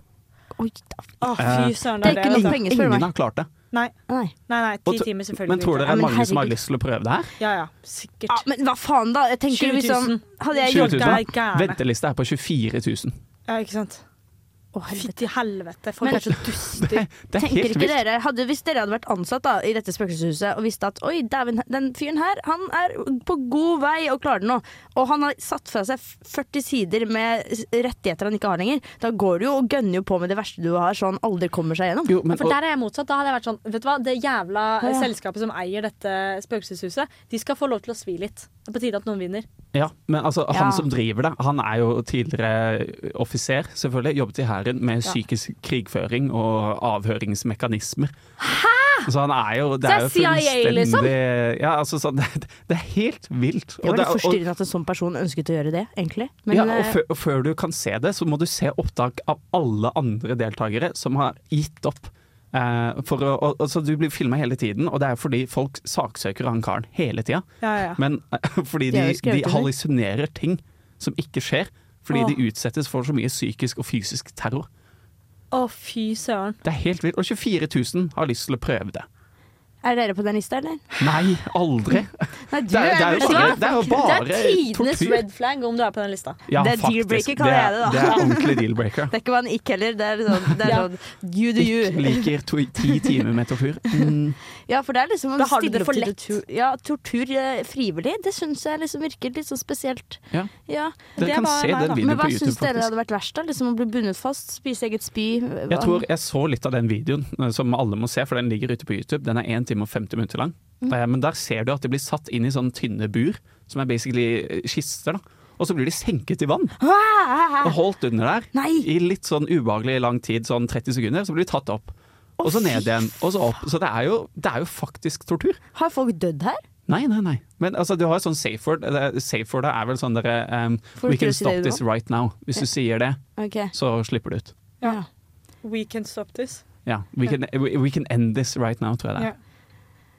Speaker 8: Oi, da.
Speaker 12: Å,
Speaker 9: Eh,
Speaker 12: fy søren.
Speaker 8: Det er ikke
Speaker 12: jo
Speaker 8: noe
Speaker 12: sant.
Speaker 8: penger, spør du
Speaker 9: Ingen
Speaker 8: meg.
Speaker 9: har klart det.
Speaker 12: Nei,
Speaker 8: Nei.
Speaker 12: nei, nei
Speaker 9: Og
Speaker 12: ti
Speaker 9: tro-
Speaker 12: timer selvfølgelig.
Speaker 9: men tror
Speaker 12: ikke.
Speaker 9: dere det
Speaker 8: Ja,
Speaker 9: er
Speaker 8: men
Speaker 9: mange som har
Speaker 8: herregud.
Speaker 9: lyst til å prøve det her?
Speaker 12: Ja ja,
Speaker 8: Ja,
Speaker 12: sikkert.
Speaker 8: men hva faen, da? Jeg tenker
Speaker 12: 20 000.
Speaker 8: liksom Hadde jeg
Speaker 9: 20
Speaker 8: gjort
Speaker 9: 000,
Speaker 12: det er
Speaker 9: da?
Speaker 12: gærne.
Speaker 9: Ventelista er på 24 000.
Speaker 12: Ja, ikke sant.
Speaker 8: Å, helvete.
Speaker 12: Fytti helvete, folk
Speaker 8: Men-
Speaker 12: er så duster.
Speaker 9: Det er
Speaker 8: Tenker
Speaker 9: helt
Speaker 8: ikke
Speaker 9: vilt.
Speaker 8: dere, hadde, Hvis dere hadde vært ansatt da, i dette spøkelseshuset og visste at oi, dæven, den fyren her han er på god vei og klarer det nå, og han har satt fra seg 40 sider med s- rettigheter han ikke har lenger, da går du jo og gønner jo på med det verste du har, så han aldri kommer seg gjennom.
Speaker 9: Jo, men,
Speaker 12: For
Speaker 9: og,
Speaker 12: der er jeg motsatt. Da hadde jeg vært sånn Vet du hva, det jævla eh,
Speaker 8: Ja.
Speaker 12: selskapet som eier dette spøkelseshuset, de skal få lov til å svi litt. Det er på tide at noen vinner.
Speaker 9: ja, men altså,
Speaker 8: Ja.
Speaker 9: han som driver det, han er jo tidligere offiser, selvfølgelig. Jobbet i hæren med psykisk krigføring og avhøringsmekanismer. Så han er jo Det
Speaker 7: Så
Speaker 9: er
Speaker 7: er
Speaker 9: jo
Speaker 7: CIA,
Speaker 9: fullstendig
Speaker 7: liksom?
Speaker 9: Ja, altså sånn Det, det er helt vilt. Og
Speaker 8: Det var litt
Speaker 9: er- og-
Speaker 8: forstyrrende at en sånn person ønsket å gjøre det, egentlig. Men,
Speaker 9: ja, og
Speaker 8: eh,
Speaker 9: før, og før du kan se det, så må du se opptak av alle andre deltakere som har gitt opp. Eh, for å, og, og, så du blir filma hele tiden, og det er fordi folk saksøker han karen hele tida.
Speaker 12: Ja, ja.
Speaker 9: Men eh, fordi
Speaker 8: Det
Speaker 9: de,
Speaker 8: er jo skrevet
Speaker 9: de
Speaker 8: under.
Speaker 9: hallusinerer ting som ikke skjer. Fordi
Speaker 12: Åh.
Speaker 9: de utsettes for så mye psykisk og fysisk terror.
Speaker 12: Å, fy søren.
Speaker 9: Det er helt vilt. Og 24 000 har lyst til å prøve det.
Speaker 8: er dere på den lista, eller?
Speaker 9: Nei, aldri!
Speaker 8: Nei, du
Speaker 9: Det er, det er, jo, bare, det er jo
Speaker 12: Det
Speaker 9: bare
Speaker 12: er tidenes
Speaker 9: tortur.
Speaker 12: red flag om du er på den lista.
Speaker 9: Ja,
Speaker 8: Det er
Speaker 9: faktisk.
Speaker 8: deal-breaker, kaller jeg det da.
Speaker 9: Det er ordentlig deal-breaker.
Speaker 8: Det er ikke bare en ikk heller, det er sånn, det er
Speaker 12: Ja.
Speaker 8: sånn you do
Speaker 9: Ikke
Speaker 8: you.
Speaker 9: liker to, ti timer med tortur. Mm.
Speaker 8: Ja, for det er liksom å
Speaker 12: Da har du
Speaker 8: stille
Speaker 12: det
Speaker 8: opp
Speaker 12: for
Speaker 8: til
Speaker 12: lett.
Speaker 8: Tortur, ja, tortur eh, frivillig, det syns jeg liksom virker litt sånn spesielt.
Speaker 9: Ja.
Speaker 8: Ja.
Speaker 9: Dere
Speaker 12: Det
Speaker 9: kan
Speaker 12: var
Speaker 9: se
Speaker 12: meg,
Speaker 9: den
Speaker 12: da.
Speaker 9: videoen
Speaker 8: Men hva
Speaker 9: på YouTube.
Speaker 8: syns dere
Speaker 9: faktisk.
Speaker 8: hadde vært verst, da? Liksom å bli bundet fast, spise eget spy? hva-
Speaker 9: Jeg tror jeg så litt av den videoen, eh, som alle må se, for den ligger ute på YouTube. Den er 1 time og 50 minutter lang.
Speaker 8: Mm.
Speaker 9: Eh, Men der ser du at de blir satt inn i sånne tynne bur, som er basically eh, kister. da. Og så blir de senket i vann og holdt under der
Speaker 8: Nei!
Speaker 9: i litt sånn ubehagelig lang tid, sånn 30 sekunder. Så blir de tatt opp, og så ned igjen, og så opp. Så det er jo, det er jo faktisk tortur.
Speaker 8: Har folk dødd her?
Speaker 9: Nei, nei, nei. Men altså, du har jo sånn safe word. Det- Safe word er vel sånn dere um,
Speaker 8: Får
Speaker 9: We
Speaker 8: du til å
Speaker 9: can
Speaker 8: si
Speaker 9: stop
Speaker 8: det du
Speaker 9: this right now. Hvis du sier det,
Speaker 8: Ok.
Speaker 9: så slipper du ut.
Speaker 8: Ja.
Speaker 12: We can stop this.
Speaker 9: Ja. We can, we, we can end this right now, tror jeg det er.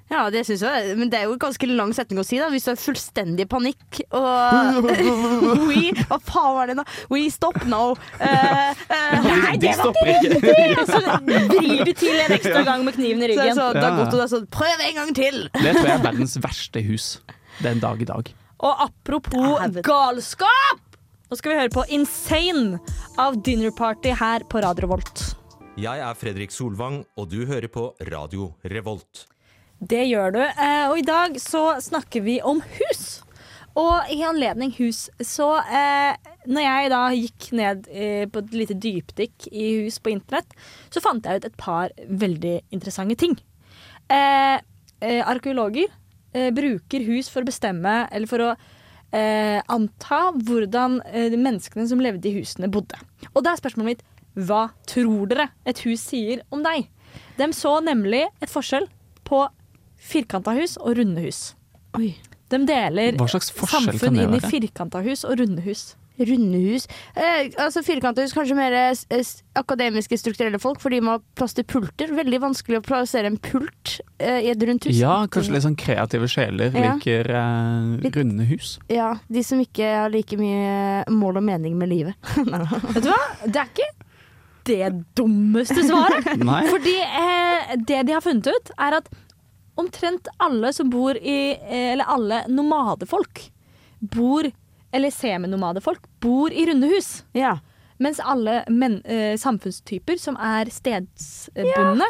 Speaker 8: Ja, det syns jeg. Men det er jo en ganske lang setning å si, da. Hvis du har fullstendig panikk og We Hva faen var det nå? We stop now. Eh, eh, nei,
Speaker 9: De
Speaker 8: det var
Speaker 9: stopper ikke!
Speaker 12: Og så vrir de til en ekstra gang med kniven i
Speaker 8: så er det
Speaker 12: ryggen.
Speaker 8: sånn, Da
Speaker 9: Ja.
Speaker 8: godt og da sånn Prøv en gang til!
Speaker 9: Det tror jeg er verdens verste hus den dag i dag.
Speaker 12: Og apropos
Speaker 8: Dæven.
Speaker 12: galskap! Nå skal vi høre på Insane av Dinner Party her på Radio Volt.
Speaker 13: Jeg er Fredrik Solvang, og du hører på Radio Revolt.
Speaker 12: Det gjør du. Eh, og i dag så snakker vi om hus. Og i anledning hus, så eh, Når jeg da gikk ned eh, på et lite dypdykk i hus på internett, så fant jeg ut et par veldig interessante ting. Eh, eh, arkeologer eh, bruker hus for å bestemme Eller for å
Speaker 7: eh, anta hvordan eh, de menneskene som levde i husene, bodde. Og da er spørsmålet mitt hva tror dere et hus sier om deg? De så nemlig et forskjell på firkanta hus og runde hus. De deler
Speaker 9: Hva slags forskjell kan
Speaker 7: samfunn
Speaker 9: det
Speaker 7: inn i
Speaker 9: være?
Speaker 7: firkanta hus og runde hus.
Speaker 8: Runde hus? Eh, altså Firkanta hus, kanskje mer eh, s- s- akademiske, strukturelle folk, for de må ha plass til pulter. Veldig vanskelig å plassere en pult eh, i et rundt hus.
Speaker 9: Ja, kanskje litt sånn kreative sjeler
Speaker 8: Ja.
Speaker 9: liker eh,
Speaker 8: Litt-
Speaker 9: runde hus.
Speaker 8: Ja, De som ikke har like mye mål og mening med livet. Vet
Speaker 7: du hva? Det er ikke det dummeste svaret.
Speaker 9: Nei.
Speaker 7: Fordi eh, det de har funnet ut, er at omtrent alle som bor i eh, Eller alle nomadefolk bor Eller seminomadefolk bor i runde hus. Mens alle men, eh, samfunnstyper som er stedsbundne,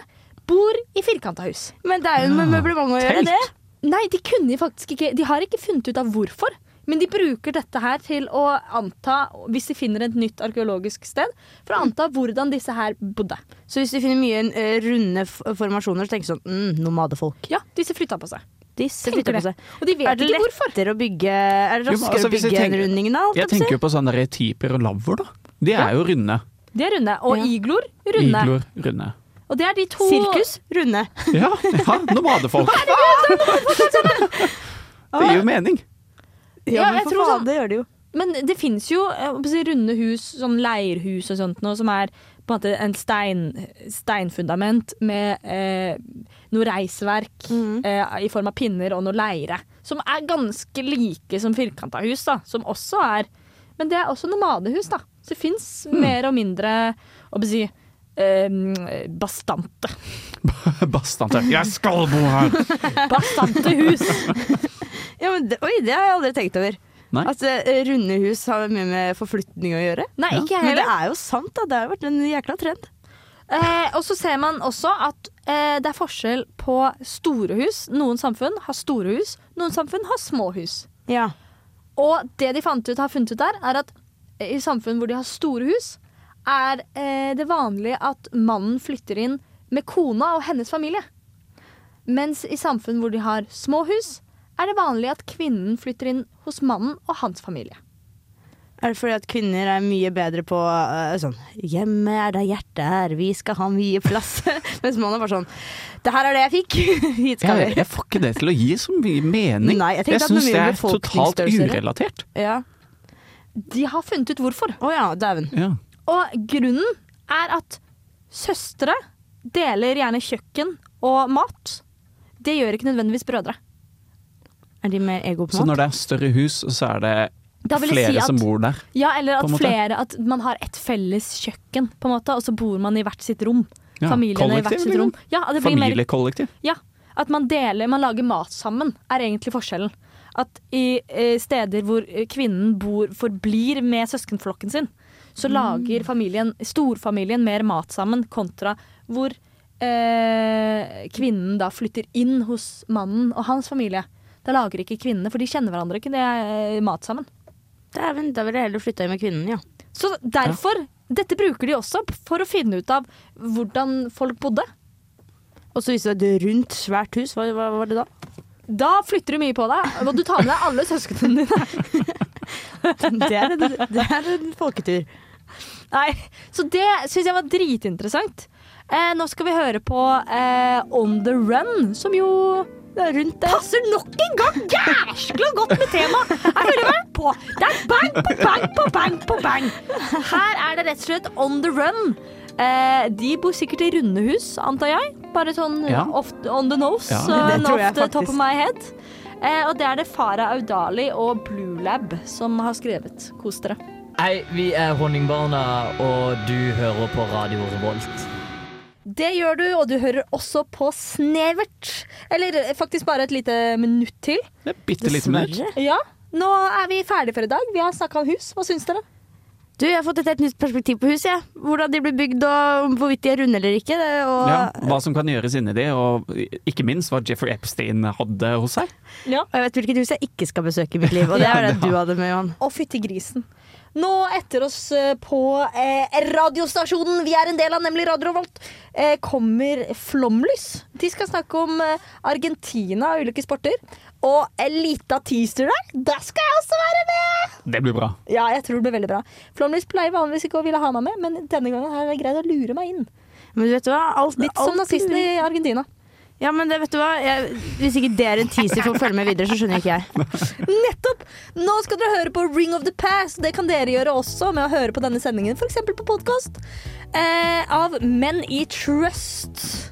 Speaker 7: bor i firkanta hus.
Speaker 8: Men det er jo med møblement å gjøre, Telt. det.
Speaker 7: Nei, de kunne faktisk ikke De har ikke funnet ut av hvorfor. Men de bruker dette her til å anta, hvis de finner et nytt arkeologisk sted, for å anta hvordan disse her bodde.
Speaker 8: Så hvis de finner mye eh, runde f- formasjoner, så tenker du sånn mm, nomadefolk.
Speaker 7: Ja, disse flytta på seg.
Speaker 8: Disse
Speaker 7: Tenker
Speaker 8: flytter på
Speaker 7: det.
Speaker 8: seg.
Speaker 7: Og de vet
Speaker 8: er det
Speaker 7: ikke
Speaker 8: lettere å bygge Er det
Speaker 9: Jo, men
Speaker 8: raskere
Speaker 9: altså,
Speaker 8: å
Speaker 9: hvis jeg
Speaker 8: bygge en
Speaker 9: tenker-
Speaker 8: runding da? holdt
Speaker 9: Jeg
Speaker 8: på å si?
Speaker 9: tenker jo på sånne retiper og lavvoer, da. De er jo runde.
Speaker 7: De er runde. Og igloer runde.
Speaker 9: Igloer runde.
Speaker 7: Og det er de to
Speaker 8: Sirkus runde.
Speaker 9: Ja, ja nomadefolk. Det gir jo mening.
Speaker 7: Ja, jeg tror sånn.
Speaker 8: det gjør det jo.
Speaker 7: Men det finnes jo eh, jeg holdt på å si, runde hus, sånn leirhus og sånt noe, som er på en måte en stein, steinfundament med eh, noe reisverk eh, i form av pinner og noe leire. Som er ganske like som firkanta hus, da. Som også er Men det er også nomadehus, da. Så det fins mer og mindre holdt på å si, eh, bastante.
Speaker 9: Bastante. Jeg skal bo her!
Speaker 7: Bastante hus.
Speaker 8: Ja, men det, oi, det har jeg aldri tenkt over.
Speaker 9: Nei.
Speaker 8: At eh, runde hus har mye med forflytning å gjøre.
Speaker 7: Nei, ikke jeg
Speaker 8: Men det
Speaker 7: heller.
Speaker 8: er jo sant, da. Det har vært en jækla trend.
Speaker 7: Eh, og så ser man også at eh, det er forskjell på store hus. Noen samfunn har store hus, noen samfunn har små hus. Og det de fant ut, har funnet ut der, er at eh, i samfunn hvor de har store hus, er eh, det vanlig at mannen flytter inn med kona og hennes familie. Mens i samfunn hvor de har små hus, er det vanlig at kvinnen flytter inn hos mannen og hans familie.
Speaker 8: Er det fordi at kvinner er mye bedre på eh, sånn 'Hjemme er der hjertet er, vi skal ha mye plass'. Mens mannen er bare sånn 'Det her er det jeg fikk, hit skal
Speaker 9: Jeg,
Speaker 8: vi'.
Speaker 9: jeg får ikke det til å gi så mye mening.
Speaker 8: Nei, jeg tenkte at
Speaker 9: syns
Speaker 8: med
Speaker 9: det
Speaker 8: mye
Speaker 9: er totalt
Speaker 8: befolkningsstørrelser-
Speaker 9: urelatert.
Speaker 8: Ja.
Speaker 7: De har funnet ut hvorfor.
Speaker 8: Å ja, dæven.
Speaker 9: Ja.
Speaker 7: Og grunnen er at søstre deler gjerne kjøkken og mat. Det gjør ikke nødvendigvis brødre.
Speaker 8: Er de mer ego på
Speaker 9: Så når
Speaker 8: mat?
Speaker 9: det er større hus, så er det
Speaker 7: Da vil jeg
Speaker 9: flere
Speaker 7: si at-
Speaker 9: som bor der.
Speaker 7: Ja, eller
Speaker 9: På
Speaker 7: at,
Speaker 9: en måte.
Speaker 7: flere, at man har et felles kjøkken, på en måte, og så bor man i hvert sitt rom.
Speaker 9: Ja,
Speaker 7: Familiene i
Speaker 9: kollektiv,
Speaker 7: hvert sitt
Speaker 9: liksom.
Speaker 7: rom. Ja, det blir mer,
Speaker 9: Familiekollektiv.
Speaker 7: ja, at man deler, man lager mat sammen, er egentlig forskjellen. At i eh, steder hvor eh, kvinnen bor, forblir med søskenflokken sin, så lager familien, storfamilien mer mat sammen, kontra hvor eh, kvinnen da flytter inn hos mannen og hans familie. Da lager ikke kvinnene, for de kjenner hverandre ikke, det er eh, mat sammen.
Speaker 8: Dæven, da ville jeg heller flytta inn med kvinnen, ja.
Speaker 7: Så derfor, dette bruker de også for å finne ut av hvordan folk bodde.
Speaker 8: Og så hvis det er et rundt, svært hus, hva, hva var det da?
Speaker 7: Da flytter du mye på deg, og du tar med deg alle søsknene dine.
Speaker 8: Det er en, det er en folketur.
Speaker 7: Nei, så det syns jeg var dritinteressant. Eh, nå skal vi høre på eh, On The Run, som jo
Speaker 8: rundt det.
Speaker 7: passer nok en gang jæskla godt med temaet! Jeg føler meg på. Det er bang på bang på bang på bang! Her er det rett og slett On The Run. Eh, de bor sikkert i runde hus, antar jeg. Bare sånn
Speaker 9: Ja.
Speaker 7: ofte on the nose.
Speaker 9: Ja.
Speaker 7: eh,
Speaker 8: Det tror jeg
Speaker 7: ofte top
Speaker 8: faktisk.
Speaker 7: of my head. Eh, og det er det Farah Audali og Blue Lab som har skrevet. Kos dere.
Speaker 14: Hei, vi er Honningbarna, og du hører på Radio Revolt.
Speaker 7: Det gjør du, og du hører også på Snevert. Eller eh, faktisk bare et lite minutt til.
Speaker 9: Bitte liten mer.
Speaker 7: Ja, Nå er vi ferdige for i dag. Vi har snakka om hus. Hva syns dere?
Speaker 8: Du, jeg har fått et helt nytt perspektiv på huset, jeg. Hvordan de blir bygd, og hvorvidt de er runde eller ikke. Det, og
Speaker 9: Ja, hva som kan gjøres inni det, og ikke minst hva Jeffrey Epstein hadde hos seg.
Speaker 8: Og jeg vet hvilket hus jeg ikke skal besøke i mitt liv, og det er det du hadde med, Johan.
Speaker 7: Å, fytti grisen. nå etter oss eh, på eh, radiostasjonen vi er en del av, nemlig Radio Revolt, eh, kommer Flomlys. De skal snakke om eh, Argentina og ulike sporter. Og en lita teaser der, der skal jeg også være med!
Speaker 9: Det blir bra.
Speaker 7: Ja, jeg tror det blir veldig bra. Flomlys pleier vanligvis ikke å ville ha meg med, men denne gangen har jeg greid å lure meg inn.
Speaker 8: Men du vet hva? Alt,
Speaker 7: Litt som
Speaker 8: alt
Speaker 7: nazistene i Argentina.
Speaker 8: Ja, men det, vet du hva? Jeg, hvis ikke det er en teaser for å følge med videre, så skjønner ikke jeg.
Speaker 7: Nettopp! Nå skal dere høre på Ring of the Past. Det kan dere gjøre også med å høre på denne sendingen, f.eks. på podkast. Eh, av Men i Trust.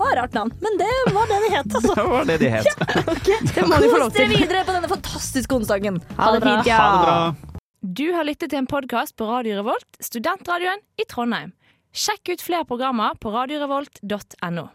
Speaker 7: Å, rart navn, men det var det de het, altså.
Speaker 9: Det var det de het.
Speaker 8: Det må de få lov
Speaker 7: Kos dere
Speaker 8: til.
Speaker 7: videre på denne fantastiske onsdagen.
Speaker 15: Ha det fint, ja.
Speaker 9: Ha det bra.
Speaker 15: Du har lyttet til en podkast på Radio Revolt, studentradioen i Trondheim. Sjekk ut flere programmer på radiorevolt.no.